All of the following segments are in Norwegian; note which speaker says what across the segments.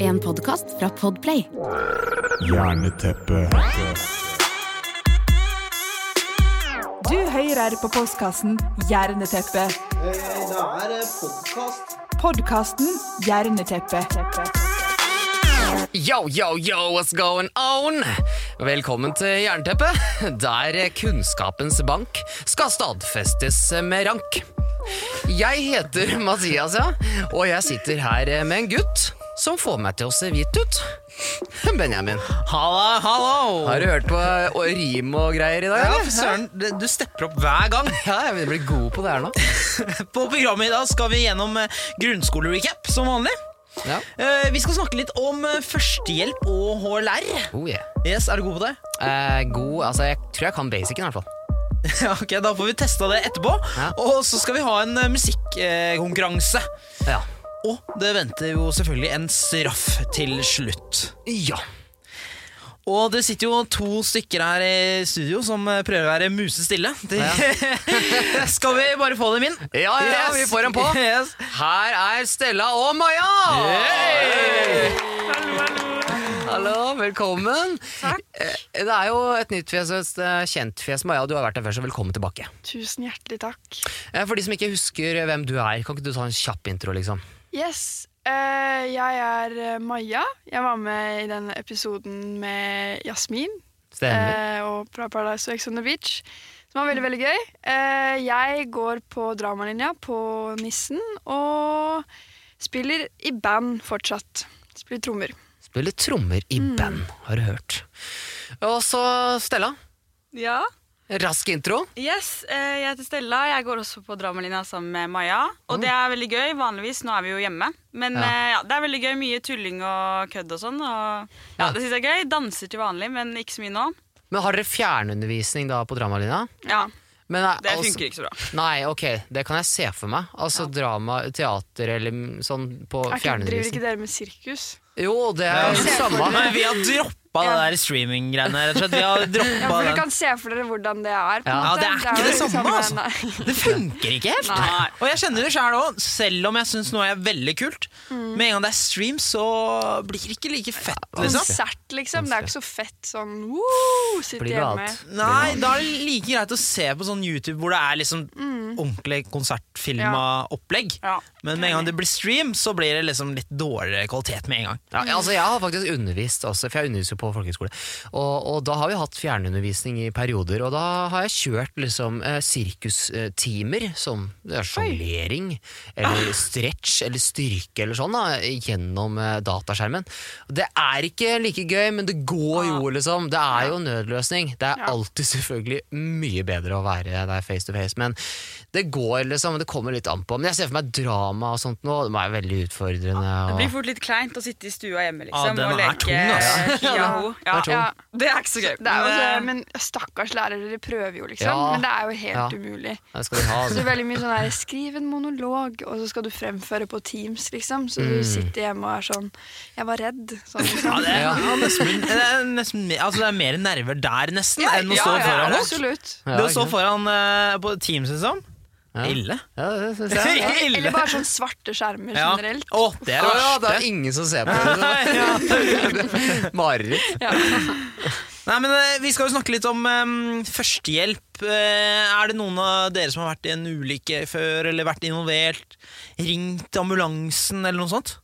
Speaker 1: En podkast fra Podplay.
Speaker 2: Jerneteppe.
Speaker 3: Du hører på postkassen Hjerneteppe.
Speaker 4: Det Eh, er podkast.
Speaker 3: Podkasten Hjerneteppe.
Speaker 5: Yo, yo, yo, what's going on? Velkommen til Jernteppet, der kunnskapens bank skal stadfestes med rank. Jeg heter Mathias, ja, og jeg sitter her med en gutt som får meg til å se hvit ut. Benjamin,
Speaker 6: Halla, hallo!
Speaker 5: har du hørt på eh, rim og greier i dag?
Speaker 6: Ja,
Speaker 5: eller?
Speaker 6: for søren, du du stepper opp hver gang.
Speaker 5: Ja, jeg blir god på det her nå.
Speaker 6: På programmet i dag skal vi gjennom eh, grunnskolerecap som vanlig.
Speaker 5: Ja.
Speaker 6: Eh, Vi skal snakke litt om eh, førstehjelp og HLR.
Speaker 5: Oh, yeah.
Speaker 6: Yes, Er du god på det?
Speaker 5: eh, god, altså, jeg tror jeg kan basicen i hvert fall.
Speaker 6: Ja, ok, Da får vi testa det etterpå.
Speaker 5: Ja.
Speaker 6: Og så skal vi ha en eh, musikkonkurranse.
Speaker 5: Ja.
Speaker 6: Og det venter jo selvfølgelig en straff til slutt.
Speaker 5: ja.
Speaker 6: Og det sitter jo to stykker her i studio som eh, prøver å være musestille. De, skal vi bare få dem inn?
Speaker 5: Ja, ja, ja, vi får dem på.
Speaker 6: Yes.
Speaker 5: Her er Stella og Maja! Hey! Hallo, velkommen. Eh, Det er jo et nytt fjes og et eh, kjent fjes. Maja, du har vært her før, så velkommen tilbake.
Speaker 7: Tusen hjertelig takk.
Speaker 5: Eh, For de som ikke husker hvem du er, kan ikke du ta en kjapp intro, liksom?
Speaker 7: Yes, eh, jeg er eh, Maja. Jeg var med i den episoden med Jasmin
Speaker 5: Stemmer.
Speaker 7: eh, og fra Paradise og Ex on the Beach, som var veldig, veldig gøy. Eh, jeg går på dramalinja på Nissen og spiller i band fortsatt. Spiller trommer.
Speaker 5: Spiller trommer i band, har du hørt. Og så Stella.
Speaker 8: Ja.
Speaker 5: Rask intro.
Speaker 8: Yes, eh, jeg heter Stella. Jeg går også på Dramalinja sammen med Maja. Og det er veldig gøy. Vanligvis nå er vi jo hjemme. Men
Speaker 5: Ja.
Speaker 8: eh, ja, det er veldig gøy. Mye tulling og kødd og sånn. Og ja,
Speaker 5: Ja.
Speaker 8: det syns jeg er gøy. Danser til vanlig, men ikke så mye nå.
Speaker 5: Men har dere fjernundervisning da på dramalinja?
Speaker 8: Ja,
Speaker 5: Men, eh,
Speaker 8: Det
Speaker 5: altså-
Speaker 8: funker ikke så bra.
Speaker 5: Nei, ok, det kan jeg se for meg. Altså drama, teater eller mm, sånn på
Speaker 7: Er ikke, driver ikke
Speaker 5: fjernundervisning.
Speaker 7: dere med sirkus?
Speaker 5: Jo, det er jo det samme.
Speaker 6: Nei, vi har droppa det der streaming-greiene. rett og slett. Vi har
Speaker 7: Ja, for
Speaker 6: droppet
Speaker 7: Dere
Speaker 6: den.
Speaker 7: kan se for dere hvordan det er. på en
Speaker 5: Ja.
Speaker 6: Ja,
Speaker 7: måte.
Speaker 6: det er ikke
Speaker 7: jo liksom eh,
Speaker 6: det samme, altså.
Speaker 7: nei.
Speaker 6: Det funker ikke helt.
Speaker 8: Nei.
Speaker 6: Og jeg kjenner det sjæl òg. Selv om jeg syns noe er veldig kult, med en gang det er stream, så blir det ikke like fett. liksom.
Speaker 7: Konsert, liksom. Det er ikke så fett sånn woo, sitte
Speaker 5: Blir noe
Speaker 7: hjemme.
Speaker 5: annet.
Speaker 6: Nei, da er det like greit å se på sånn YouTube hvor det er liksom ordentlig konsertfilma opplegg.
Speaker 8: Ja.
Speaker 6: Men med en gang det blir stream, så blir det liksom litt dårligere kvalitet med en gang.
Speaker 5: Ja, altså jeg har faktisk undervist også, for jeg underviser jo på folkehøyskole. Og, og da har vi hatt fjernundervisning i perioder, og da har jeg kjørt liksom eh, sirkustimer som det er sjonglering, eller
Speaker 8: Ah.
Speaker 5: stretch, eller styrke, eller sånn, da, gjennom eh, dataskjermen. Det er ikke like gøy, men det går
Speaker 8: Ah.
Speaker 5: jo, liksom. Det er jo en nødløsning. Det er alltid selvfølgelig mye bedre å være der face to face, men det går, liksom. Det kommer litt an på. Men jeg ser for meg drama og sånt nå, det er veldig utfordrende.
Speaker 8: Det
Speaker 5: Og
Speaker 8: blir fort litt kleint å sitte i stua hjemme
Speaker 6: Ja,
Speaker 8: liksom,
Speaker 6: den
Speaker 8: og
Speaker 6: er
Speaker 8: leke
Speaker 6: tung, ass.
Speaker 8: hi og ho. Ja,
Speaker 5: Det er tung.
Speaker 8: ja, det er ikke så gøy.
Speaker 7: Det er jo
Speaker 8: men, eh,
Speaker 7: så, men stakkars lærere, de prøver jo, liksom.
Speaker 5: Ja.
Speaker 7: Men det er jo helt
Speaker 5: Ja.
Speaker 7: umulig.
Speaker 5: Ja, Det skal de ha,
Speaker 7: Så det
Speaker 5: altså.
Speaker 7: er veldig mye sånn her, Skriv en monolog, og så skal du fremføre på Teams, liksom. Så du sitter hjemme og er sånn Jeg var redd. Sånn,
Speaker 6: Ja,
Speaker 7: liksom.
Speaker 6: det, er, ja, nesten, det, er nesten, mer- altså det er mer nerver der, nesten, enn å
Speaker 8: ja,
Speaker 6: stå
Speaker 8: ja,
Speaker 6: foran folk.
Speaker 7: Absolutt.
Speaker 5: Ja,
Speaker 6: Det å
Speaker 5: ikke
Speaker 6: stå
Speaker 5: sant?
Speaker 6: foran eh, på Teams, liksom.
Speaker 5: Ja.
Speaker 6: Ille.
Speaker 5: Ja, det synes jeg. Ja.
Speaker 7: Eller bare sånn svarte skjermer
Speaker 6: Ja.
Speaker 7: generelt.
Speaker 6: Å, det er
Speaker 5: Å
Speaker 6: det
Speaker 5: ja, det
Speaker 6: verste.
Speaker 5: er ingen som ser på det. Mareritt.
Speaker 6: Nei, men eh, Vi skal jo snakke litt om eh, førstehjelp. Eh, er det noen av dere som har vært i en ulykke før, eller vært involvert? Ringt ambulansen, eller noe sånt?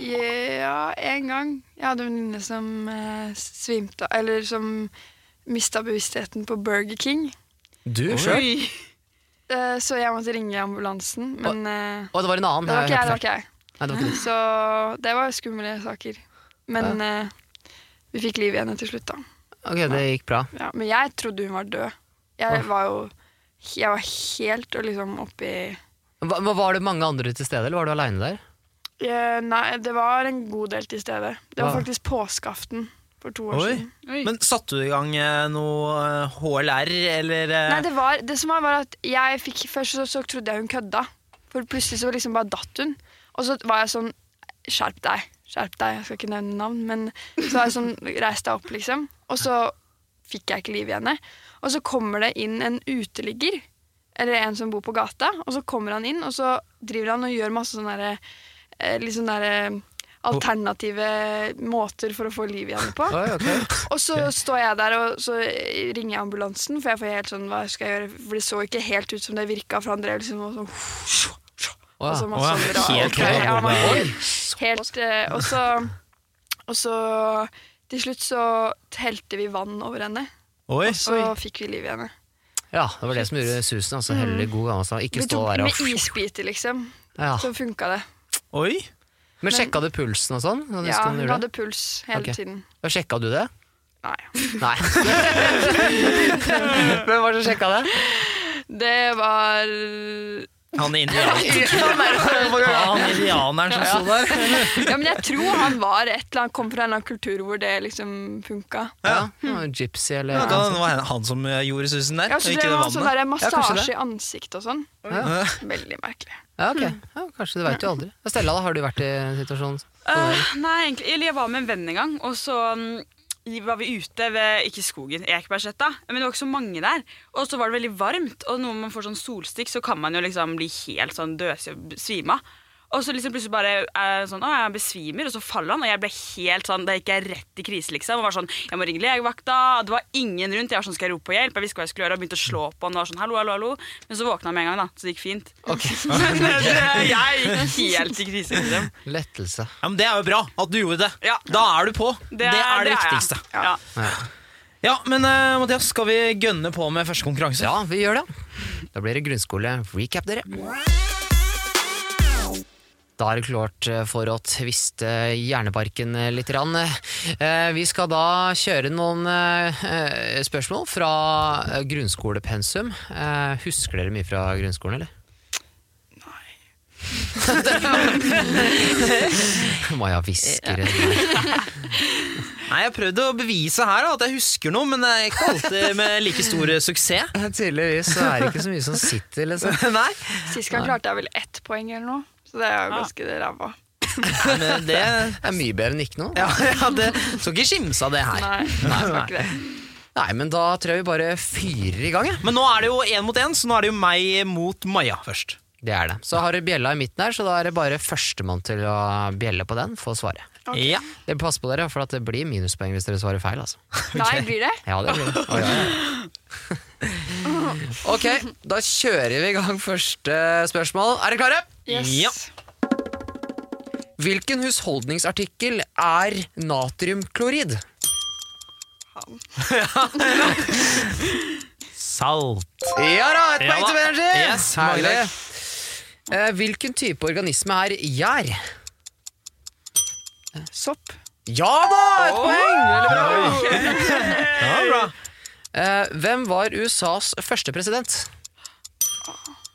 Speaker 7: Ja, en gang. Jeg hadde en venninne som eh, svimte Eller som mista bevisstheten på Burger King.
Speaker 5: Du sjøl?
Speaker 8: Oi.
Speaker 7: Eh, så jeg måtte ringe ambulansen, men eh,
Speaker 5: Å, det var en annen.
Speaker 7: det var ikke
Speaker 5: jeg
Speaker 7: jeg. det var
Speaker 5: hørte
Speaker 7: ikke jeg
Speaker 5: feil. Nei, det var ikke du.
Speaker 7: Så det var skumle saker. Men eh, vi fikk liv i henne til slutt, da.
Speaker 5: Ok, det gikk bra.
Speaker 7: Ja, men jeg trodde hun var død. Jeg var jo jeg var helt og liksom oppi
Speaker 5: Hva, hva- var det mange andre til stede, eller var du aleine der?
Speaker 7: Eh, Nei, det var en god del til stede. Det var
Speaker 5: Ja.
Speaker 7: faktisk påskeaften for to år
Speaker 6: Oi.
Speaker 7: siden.
Speaker 8: Oi.
Speaker 6: Men satte du i gang eh, noe eh, HLR, eller eh,
Speaker 7: Nei, det, var, det som var, var at jeg fikk Først så, så trodde jeg hun kødda. For plutselig så liksom bare datt hun. Og så var jeg sånn Skjerp deg. Skjerp deg. Jeg skal ikke nevne navn, men så var jeg sånn Reis deg opp, liksom. Og så fikk jeg ikke liv i henne. Og så kommer det inn en uteligger. Eller en som bor på gata. Og så kommer han inn, og så driver han og gjør masse sånn derre eh, litt sånn der, eh, alternative måter for å få liv i henne på.
Speaker 5: Oi, ok.
Speaker 7: Og så står jeg der, og så ringer jeg ambulansen, for jeg får helt sånn Hva skal jeg gjøre? For det så ikke helt ut som det virka, for han drev liksom og sånn
Speaker 5: Ah, Å,
Speaker 7: og så
Speaker 5: ja.
Speaker 7: masse
Speaker 6: Åh,
Speaker 7: andre
Speaker 6: helt
Speaker 7: ok, ja, man,
Speaker 5: Oi.
Speaker 7: helt, eh, og, så, og så Til slutt så helte vi vann over henne,
Speaker 6: Oi.
Speaker 7: og så fikk vi liv i henne.
Speaker 5: ja, det var det som gjorde susen. Altså, Helle, god gammel stand. Ikke
Speaker 7: Mm. Vi
Speaker 5: stå
Speaker 7: tok
Speaker 5: der
Speaker 7: med
Speaker 5: og Ah.
Speaker 7: isbiter, liksom.
Speaker 5: ja.
Speaker 7: Så funka det.
Speaker 6: Oi.
Speaker 5: Men sjekka du pulsen og sånn? Sånn,
Speaker 7: Ja,
Speaker 5: husker du
Speaker 7: hun
Speaker 5: det?
Speaker 7: hadde puls hele
Speaker 5: Ok.
Speaker 7: tiden.
Speaker 5: Og Sjekka du det?
Speaker 7: Nei.
Speaker 5: Nei. Hvem var det som sjekka det?
Speaker 7: Det var
Speaker 6: Han indianeren, han indianeren som sto der.
Speaker 7: Ja, men jeg tror han var et eller annet, kom fra en eller annen kultur hvor det liksom funka.
Speaker 5: Ja, det var en Gypsy eller
Speaker 6: Ja, kan det være han som eh, gjorde susen der?
Speaker 7: Ja, så
Speaker 6: og
Speaker 7: drev han sånn der
Speaker 5: kanskje
Speaker 7: massasje
Speaker 5: det.
Speaker 7: i ansiktet og sånn.
Speaker 5: Ja.
Speaker 7: Veldig merkelig.
Speaker 5: Ja, ok. Ja, kanskje, du veit jo aldri. Ja, Stella, da, har du vært i en situasjon?
Speaker 8: Øh, nei, egentlig. Eller jeg var med en venn en gang, og så mm, var vi ute ved Ikke skogen, Ekebergsletta. Men det var ikke så mange der. Og så var det veldig varmt, og når man får sånn solstikk, så kan man jo liksom bli helt sånn døsig og svime av. Og så liksom plutselig bare er jeg sånn, å, jeg besvimer, og så faller han. Og jeg ble helt sånn, Da gikk jeg rett i krise, liksom. Og var sånn, jeg må ringe legevakta. Det var ingen rundt. Jeg var sånn, skal jeg rope på hjelp? Jeg visste hva jeg skulle gjøre, og begynte å slå på han. og var sånn, hallo, hallo, hallo. Men så våkna han med en gang, da. Så det gikk fint. Men det, jeg gikk helt i krise, liksom.
Speaker 5: Lettelse.
Speaker 6: Ja, men Det er jo bra at du gjorde det.
Speaker 8: Ja.
Speaker 6: Da er du på. Det er det,
Speaker 8: jeg.
Speaker 6: viktigste.
Speaker 8: Ja.
Speaker 6: Ja, men eh, Mathias, skal vi gønne på med første konkurranse?
Speaker 5: Ja, vi gjør det. Da blir det grunnskole-recap, dere. Da er det klart eh, for å tviste hjerneparken litt. grann. Eh, Vi skal da kjøre noen eh, spørsmål fra eh, grunnskolepensum. Eh, Husker dere mye fra grunnskolen, eller? Nei. Maja hvisker.
Speaker 6: Nei, Jeg prøvde å bevise her da, at jeg husker noe, men jeg ikke alltid med like stor eh, suksess.
Speaker 5: Tydeligvis så er det ikke så mye som sitter, liksom.
Speaker 6: Nei,
Speaker 7: Sist gang klarte jeg vel ett poeng eller noe, så det er jo ganske ræva.
Speaker 6: men det,
Speaker 5: Det er mye bedre enn ikke noe.
Speaker 6: ja, ja, det Skal ikke kimse av det her.
Speaker 7: Nei, jeg skal ikke det.
Speaker 5: Nei, men da tror jeg vi bare fyrer i gang, jeg.
Speaker 6: Men nå er det jo én mot én, så nå er det jo meg mot Maja først.
Speaker 5: Det er det. Så har du bjella i midten her, så da er det bare førstemann til å bjelle på den, få svare.
Speaker 6: Ja.
Speaker 5: Dere Pass på dere, for at det blir minuspoeng hvis dere svarer feil, altså.
Speaker 7: Nei, blir det?
Speaker 5: Ja, det blir det. Oi, oi, oi. Ok, da kjører vi i gang første spørsmål. Er dere klare?
Speaker 7: Yes.
Speaker 6: Ja.
Speaker 5: Hvilken husholdningsartikkel er natriumklorid?
Speaker 6: Salt.
Speaker 5: Ja da, et
Speaker 6: Ja
Speaker 5: poeng
Speaker 6: da.
Speaker 5: til Benji!
Speaker 6: Yes, mange
Speaker 5: Herlig. Eh, Hvilken type organisme er gjær?
Speaker 7: Eh, Sopp.
Speaker 5: Ja da, et poeng! Veldig bra.
Speaker 6: Ja, bra.
Speaker 5: Eh, hvem var USAs første president?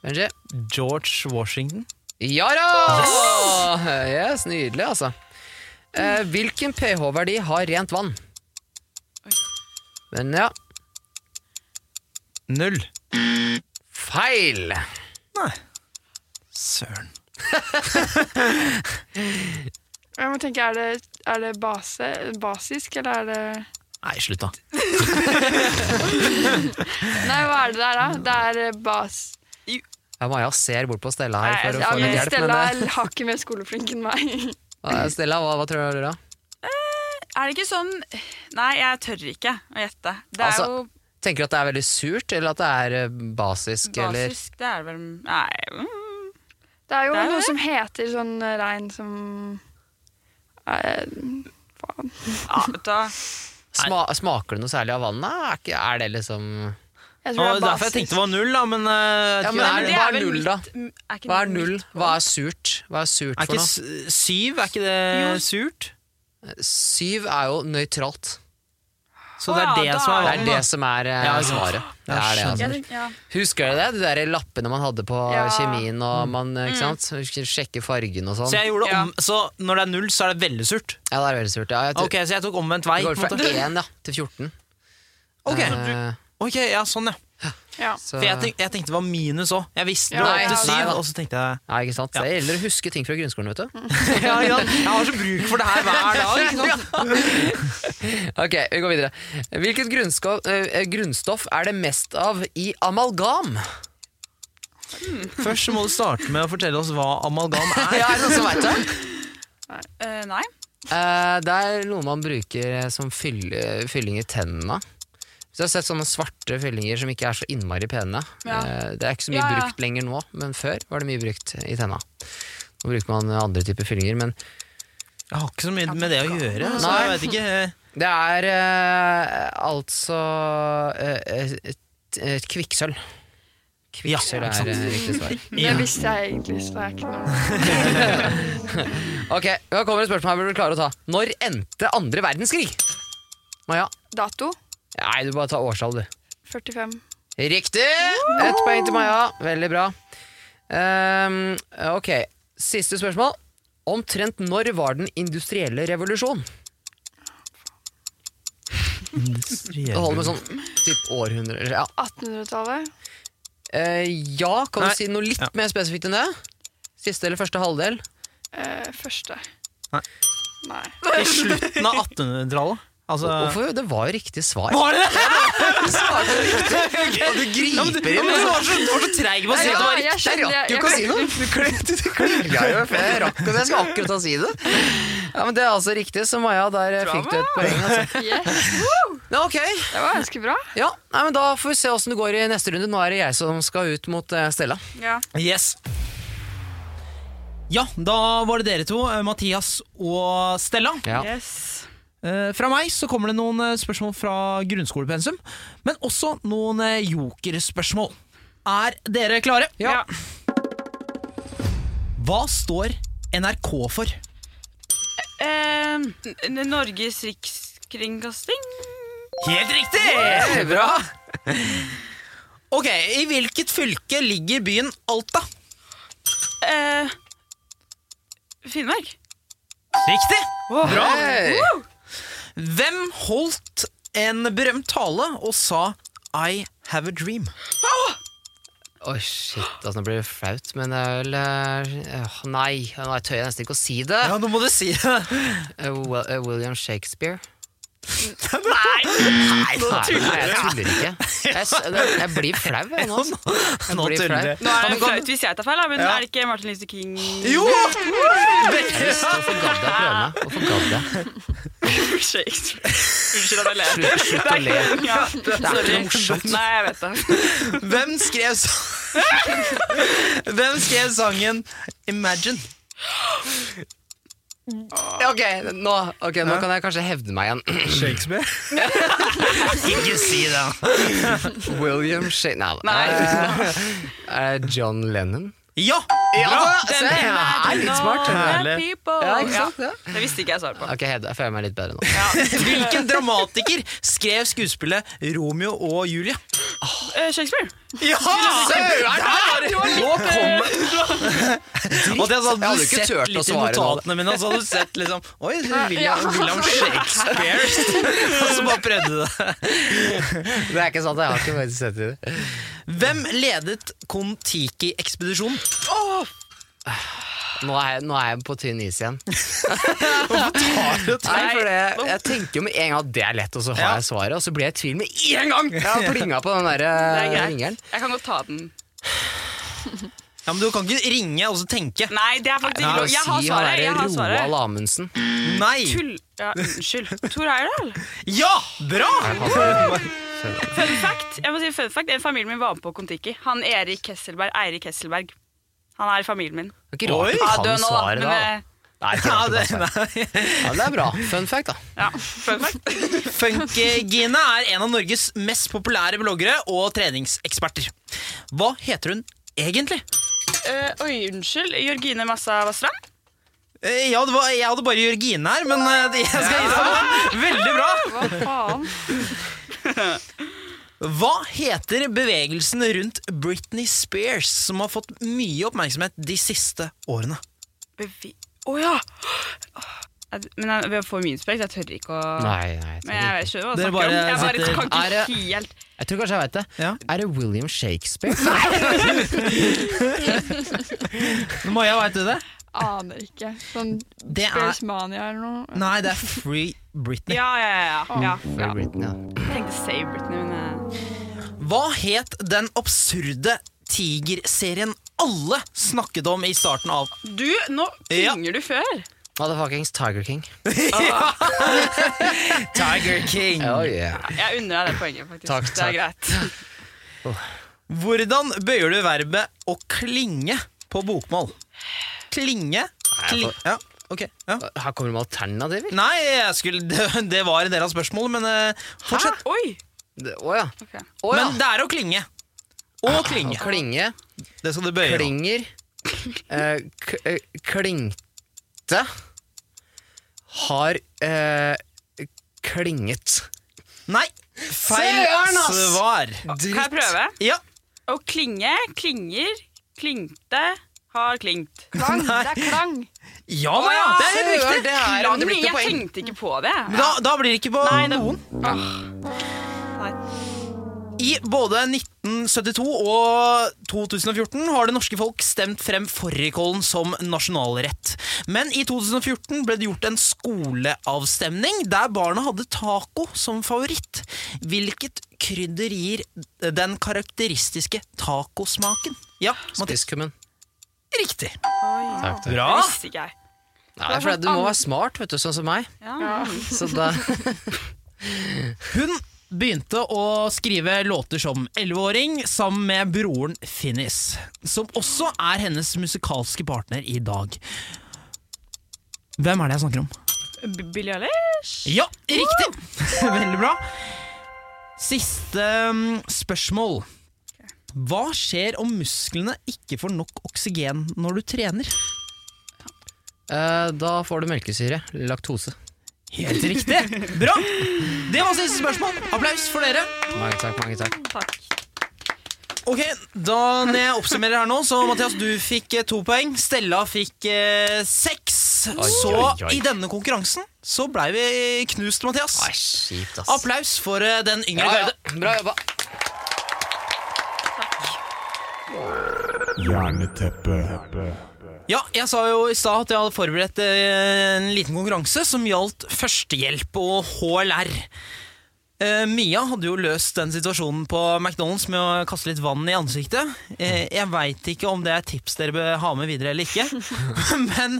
Speaker 5: Benji?
Speaker 6: George Washington.
Speaker 5: Ja da! Yes, nydelig, altså. Eh, hvilken pH-verdi har rent vann? Men ja,
Speaker 6: Null.
Speaker 5: feil.
Speaker 6: Nei. Søren.
Speaker 7: Jeg må tenke, er det, er det base, basisk, eller er det
Speaker 6: Nei, slutt, da.
Speaker 7: Nei, hva er det der, da? Det er eh, bas...
Speaker 5: Ja, Maja ser bort på Stella her for å
Speaker 7: Ja,
Speaker 5: få
Speaker 7: men
Speaker 5: litt hjelp.
Speaker 7: Stella
Speaker 5: Men,
Speaker 7: har ikke mer skoleflink enn meg.
Speaker 5: eh, Stella, hva, hva tror du da?
Speaker 8: Er det ikke sånn Nei, jeg tør ikke å gjette. Det er
Speaker 5: Altså,
Speaker 8: jo
Speaker 5: Tenker du at det er veldig surt, eller at det er eh, basisk? Eller?
Speaker 8: basisk. Det er vel Nei. mm.
Speaker 7: Det er jo
Speaker 8: Det er jo
Speaker 7: noe
Speaker 8: det.
Speaker 7: som heter sånn eh, regn som eh, Faen.
Speaker 8: Ja, vet du hva.
Speaker 5: Sma, smaker det noe særlig av vannet? Er, ikke, er det liksom
Speaker 7: Jeg
Speaker 6: Det
Speaker 7: tror
Speaker 6: var
Speaker 7: det er
Speaker 6: derfor jeg
Speaker 7: basisk.
Speaker 6: tenkte det var null, da, men eh,
Speaker 5: Ja, men er
Speaker 8: Nei, men
Speaker 5: det-
Speaker 8: det
Speaker 5: hva er
Speaker 8: vel
Speaker 5: null,
Speaker 8: midt-
Speaker 5: da?
Speaker 8: er ikke
Speaker 5: Hva er
Speaker 8: det
Speaker 5: null?
Speaker 8: midt på?
Speaker 5: Hva er surt? Hva er surt
Speaker 6: Er
Speaker 5: for
Speaker 6: ikke
Speaker 5: noe?
Speaker 6: s- syv? Er ikke det surt?
Speaker 5: Syv er jo nøytralt.
Speaker 6: Så
Speaker 8: Å
Speaker 6: det er
Speaker 8: ja,
Speaker 6: det
Speaker 8: da
Speaker 6: som
Speaker 8: er
Speaker 6: er
Speaker 5: Det
Speaker 6: vann.
Speaker 5: er
Speaker 6: da.
Speaker 5: det som er eh,
Speaker 6: Ah. Ja, ikke sant.
Speaker 5: svaret. Det
Speaker 6: Ja,
Speaker 5: er det, altså.
Speaker 8: Jeg tenkte- ja.
Speaker 5: Husker dere det? De der lappene man hadde på
Speaker 7: Ja.
Speaker 5: kjemien og man eh, ikke sant? sjekke fargen og sånn.
Speaker 6: Mm. Så, jeg gjorde om, så når det er null, så er det veldig surt?
Speaker 5: Ja, det er veldig surt. Ja, jeg tror,
Speaker 6: Ok, Så jeg tok omvendt vei?
Speaker 5: Det går fra
Speaker 6: på en måte.
Speaker 5: 1 ja, til 14.
Speaker 6: Ok,
Speaker 5: Eh,
Speaker 6: ok, ja, Sånn, ja.
Speaker 7: Ja.
Speaker 5: så,
Speaker 6: For jeg, tenk, jeg tenkte det var minus òg. Jeg visste det
Speaker 7: Ja,
Speaker 6: var
Speaker 7: ja,
Speaker 6: opp til
Speaker 5: ja.
Speaker 6: syv,
Speaker 5: Nei, da.
Speaker 6: og så tenkte jeg
Speaker 5: Nei, ikke sant? Det gjelder å huske ting fra grunnskolen, vet du.
Speaker 6: ja, ja, Jeg har så bruk for det her hver dag. Ikke sant?
Speaker 5: Ok, vi går videre. eh, Hvilket grunnsko- eh, grunnstoff er det mest av i amalgam?
Speaker 6: Først så må du starte med å fortelle oss hva amalgam er.
Speaker 5: Ja, er det noen som vet det?
Speaker 8: Eh, nei.
Speaker 5: Eh, det er noe man bruker eh, som fylle, fylling i tennene. Så jeg har sett sånne svarte fyllinger som ikke er så innmari pene.
Speaker 8: Ja.
Speaker 5: Eh, det er ikke så mye
Speaker 8: Ja, ja.
Speaker 5: brukt lenger nå, men før var det mye brukt i tenna. Nå bruker man andre typer fyllinger, men
Speaker 6: Jeg har ikke så mye med det å gjøre. Så jeg
Speaker 5: Nei.
Speaker 6: vet ikke eh,
Speaker 5: det er eh, altså eh, et, et kvikksølv.
Speaker 6: Ja,
Speaker 5: Kvikksølv
Speaker 6: ikke sant.
Speaker 5: er eh, riktig svar.
Speaker 7: Det visste jeg egentlig, så det er ikke noe
Speaker 5: Ok, Nå kommer et spørsmål her burde du klare å ta. Når endte andre verdenskrig? Maja?
Speaker 7: Dato
Speaker 5: Nei, du bare tar årstall, du.
Speaker 7: 45.
Speaker 5: Riktig! Ett poeng til Maja. Veldig bra. Ehm, ok, siste spørsmål. Omtrent når var den industrielle revolusjon? Det holder med sånn typ århundrer. Ja,
Speaker 7: 1800-tallet.
Speaker 5: Eh, ja kan
Speaker 6: Nei.
Speaker 5: du si noe litt
Speaker 6: Ja.
Speaker 5: mer spesifikt enn det? Siste eller første halvdel?
Speaker 7: Eh, første.
Speaker 6: Nei.
Speaker 7: Nei.
Speaker 6: I slutten av 1800-tallet. Altså,
Speaker 5: sånn- Hvorfor? Det var jo riktig svar.
Speaker 6: Var det det?!
Speaker 5: Og du
Speaker 6: Ja, men du, ja, men
Speaker 5: griper inn!
Speaker 6: du
Speaker 5: liksom.
Speaker 6: var så, du var så treig på å si at det var
Speaker 7: jeg skjønner, jeg,
Speaker 5: Du
Speaker 7: jeg,
Speaker 5: kan si noe! Du kl- du klinga jo før jeg rakk det, så jeg skal akkurat å si det. Ja, men Det er altså riktig, så Maja, der eh, fikk du et poeng. Altså.
Speaker 7: Yes,
Speaker 5: Ja, ok,
Speaker 7: det var ganske bra.
Speaker 5: Ja, nei, men Da får vi se åssen det går i neste runde. Nå er det jeg som skal ut mot eh, Stella.
Speaker 8: Ja.
Speaker 6: Yes. Ja, da var det dere to, eh, Mathias og Stella.
Speaker 5: Ja.
Speaker 8: Yes.
Speaker 6: Eh, Fra meg så kommer det noen eh, spørsmål fra grunnskolepensum, men også noen eh, jokerspørsmål. Er dere klare?
Speaker 8: Ja.
Speaker 6: Hva står NRK for?
Speaker 8: Eh, N- Norges rikskringkasting?
Speaker 6: Helt riktig!
Speaker 5: Bra!
Speaker 6: Ok, I hvilket fylke ligger byen Alta?
Speaker 8: Eh, Finnmark?
Speaker 6: Riktig!
Speaker 5: Bra. Eh.
Speaker 6: Hvem holdt en berømt tale og sa 'I have a dream'?
Speaker 5: Oi, shit, altså, nå blir det flaut, men det er vel eh, åh, Nei, nå tør jeg nesten ikke å si det.
Speaker 6: Ja, nå må du si det.
Speaker 5: Eh, Wil- eh, William Shakespeare.
Speaker 6: Nei,
Speaker 5: Nei, nei, jeg tuller ikke. Jeg, s- det- jeg blir flau, jeg nå. altså.
Speaker 6: Nå
Speaker 5: blir
Speaker 6: tuller
Speaker 5: flau.
Speaker 6: jeg.
Speaker 8: Nå er det flaut hvis jeg tar feil, da, men er det ikke Martin Luther King
Speaker 6: Jo!
Speaker 5: Hvorfor gadd jeg prøve meg? Hvorfor gadd jeg?
Speaker 8: Shakespeare? Unnskyld at jeg ler.
Speaker 5: Slutt, slutt å le.
Speaker 8: Ja,
Speaker 5: ikke
Speaker 8: sorry.
Speaker 5: noe morsomt. Altså,
Speaker 8: Nei, jeg vet det.
Speaker 6: Hvem skrev sa- Hvem skrev sangen 'Imagine'?
Speaker 5: Ok, nå, ok, nå kan jeg kanskje hevde meg igjen.
Speaker 6: Shakespeare? Ikke si det.
Speaker 5: William Shakespeare Nei. eh, eh, John Lennon?
Speaker 6: Ja!
Speaker 5: Ja, se,
Speaker 8: Den
Speaker 5: jeg er
Speaker 8: imagine
Speaker 5: litt smart.
Speaker 8: all the
Speaker 6: Herlig.
Speaker 8: people.
Speaker 5: Ja, ikke sant? Ja.
Speaker 8: Det visste ikke jeg svaret på.
Speaker 5: Ok, Hedda, jeg føler meg litt bedre nå.
Speaker 6: Hvilken dramatiker skrev skuespillet 'Romeo og Julie'?
Speaker 8: Eh, Shakespeare?
Speaker 6: Ja! Nå kom Og det hadde
Speaker 5: Jeg hadde
Speaker 6: du
Speaker 5: ikke
Speaker 6: sett
Speaker 5: turt å
Speaker 6: litt i
Speaker 5: svare nå.
Speaker 6: notatene mine, og så hadde du sett liksom Oi, det er William, William Shakespeare! Og så bare prøvde du det.
Speaker 5: Det er ikke sant, jeg har ikke faktisk sett i det.
Speaker 6: Hvem ledet Kon-Tiki-ekspedisjonen?
Speaker 5: Nå er, jeg, nå er jeg på tynn is igjen.
Speaker 6: Har du
Speaker 5: Nei, for det, Jeg tenker jo med en gang at det er lett, og så har
Speaker 6: Ja.
Speaker 5: jeg svaret, og så blir jeg i tvil med en gang! Jeg har plinga på den der
Speaker 8: Det er
Speaker 5: eh, ringeren.
Speaker 8: greit. Jeg kan godt ta den.
Speaker 6: Ja, men Du kan ikke ringe og så tenke.
Speaker 8: Nei, det er faktisk ikke lov. Jeg har
Speaker 5: Si han
Speaker 8: svaret.
Speaker 5: derre
Speaker 8: Jeg har svaret.
Speaker 5: Roald Amundsen.
Speaker 6: Nei!
Speaker 8: Tull... Ja, unnskyld. Tor Heyerdahl?
Speaker 6: Ja! Bra!
Speaker 8: Fun fact, jeg må si fun fact En familien min var med på Kon-Tiki. Han Erik Kesselberg, Eirik Kesselberg. Han er i familien min.
Speaker 5: Det er ikke rart
Speaker 6: Oi.
Speaker 5: du kan
Speaker 8: Ja, død nå, da,
Speaker 5: svaret,
Speaker 8: men,
Speaker 5: da.
Speaker 8: eh,
Speaker 5: Nei, det er ikke
Speaker 6: Ja,
Speaker 5: rart du
Speaker 6: det,
Speaker 5: kan svaret.
Speaker 6: nei.
Speaker 5: Ja, det er bra. Fun fact, da.
Speaker 8: Ja, fun fact.
Speaker 6: Funkygine er en av Norges mest populære bloggere og treningseksperter. Hva heter hun egentlig?
Speaker 8: Eh, oi, unnskyld. Jørgine Massa Vassdrag?
Speaker 6: Eh, Ja, det var, jeg hadde bare Jørgine her, men eh, det- jeg skal gi deg den. Veldig bra!
Speaker 7: Hva faen?
Speaker 6: Hva heter bevegelsen rundt Britney Spears, som har fått mye oppmerksomhet de siste årene?
Speaker 8: Bevi... Å ja! Jeg- Men jeg, ved å få min sprekk, jeg tør ikke å
Speaker 5: Nei, nei, jeg tror,
Speaker 8: Men jeg
Speaker 5: ikke.
Speaker 8: vet ikke
Speaker 6: Dere
Speaker 8: hva jeg snakker om. Jeg
Speaker 6: bare
Speaker 8: bare kan
Speaker 5: sitter- Er
Speaker 8: ikke
Speaker 5: det-
Speaker 8: helt
Speaker 5: jeg tror kanskje jeg veit det.
Speaker 6: Ja.
Speaker 5: Er det William Shakespeare?
Speaker 6: Maja, veit du det?
Speaker 7: Aner ikke. Sånn
Speaker 6: Det er
Speaker 7: Sparesmania eller noe.
Speaker 6: Nei, det er Free Britney.
Speaker 8: Ja, ja, ja. ja. ja,
Speaker 5: Britney, ja.
Speaker 8: Jeg tenkte Save Britney, men eh,
Speaker 6: Hva het den absurde tigerserien alle snakket om i starten av
Speaker 8: Du, nå
Speaker 6: Ja.
Speaker 8: klinger du før.
Speaker 5: Motherfuckings Tiger King.
Speaker 6: Tiger King.
Speaker 5: Oh, yeah.
Speaker 8: Jeg unner deg det poenget, faktisk.
Speaker 5: Takk,
Speaker 8: Det
Speaker 5: takk.
Speaker 8: er greit.
Speaker 6: Hvordan bøyer du verbet å klinge på bokmål? Klinge? Kli ja, ok. Ja.
Speaker 5: Her kommer det med alternativer.
Speaker 6: Nei, jeg skulle, det, det var en del av spørsmålet, men eh, fortsett.
Speaker 8: Hæ? Ah, Oi!
Speaker 5: Det- Å ja.
Speaker 8: Ok.
Speaker 5: Å ja. Ah,
Speaker 6: Men det er å klinge. Å klinge.
Speaker 5: Å Klinge.
Speaker 6: Det skal du bøye. nå.
Speaker 5: Klinger. eh, k eh, klingte. Har eh, klinget.
Speaker 6: Nei, feil
Speaker 5: Søren, ass!
Speaker 6: svar.
Speaker 8: Kan jeg prøve?
Speaker 6: Ja.
Speaker 8: Å klinge, klinger, klingte, har klingt.
Speaker 7: Klang. Det er klang.
Speaker 6: Ja, nei, ja. Det er helt
Speaker 5: Søren,
Speaker 6: riktig.
Speaker 5: Det her hadde
Speaker 8: Klang,
Speaker 5: blitt et
Speaker 8: jeg
Speaker 5: poeng.
Speaker 8: tenkte ikke på det.
Speaker 6: Da, da blir det ikke på
Speaker 8: Nei, det-
Speaker 6: noen.
Speaker 8: Nei.
Speaker 6: I både 1972 og 2014 har det norske folk stemt frem fårikålen som nasjonalrett. Men i 2014 ble det gjort en skoleavstemning der barna hadde taco som favoritt. Hvilket krydder gir den karakteristiske tacosmaken? Ja, Mathis.
Speaker 5: Spisskummen.
Speaker 6: Riktig.
Speaker 8: Oi,
Speaker 5: Takk, takk.
Speaker 8: det
Speaker 6: Bra!
Speaker 8: visste ikke jeg.
Speaker 5: Nei, for det- du må være smart, vet du, sånn som meg.
Speaker 8: Ja.
Speaker 5: Så da
Speaker 6: Hun begynte å skrive låter som 11-åring sammen med broren Finnis, som også er hennes musikalske partner i dag. Hvem er det jeg snakker om?
Speaker 8: B- Billie Eilish?
Speaker 6: Ja, riktig! Veldig bra. Siste mm, spørsmål. Hva skjer om musklene ikke får nok oksygen når du trener?
Speaker 5: eh, Da får du melkesyre. Laktose.
Speaker 6: Helt riktig! Bra! Det var siste spørsmål. Applaus for dere.
Speaker 5: Mange takk, mange takk.
Speaker 8: Takk.
Speaker 6: Ok, da når jeg oppsummerer her nå Så Mathias, du fikk eh, to poeng Stella fikk eh, seks Så
Speaker 5: oi, oi.
Speaker 6: i denne konkurransen Så blei vi knust, Mathias
Speaker 5: Nei, kjipt, ass.
Speaker 6: Applaus for eh, den yngre
Speaker 5: Ja, ja.
Speaker 6: garde
Speaker 5: Bra jobba.
Speaker 2: Jerneteppe.
Speaker 6: Ja, jeg sa jo i stad at jeg hadde forberedt eh, en liten konkurranse som gjaldt førstehjelp og HLR. Eh, Mia hadde jo løst den situasjonen på McDonald's med å kaste litt vann i ansiktet. Eh, jeg veit ikke om det er tips dere bør ha med videre eller ikke, men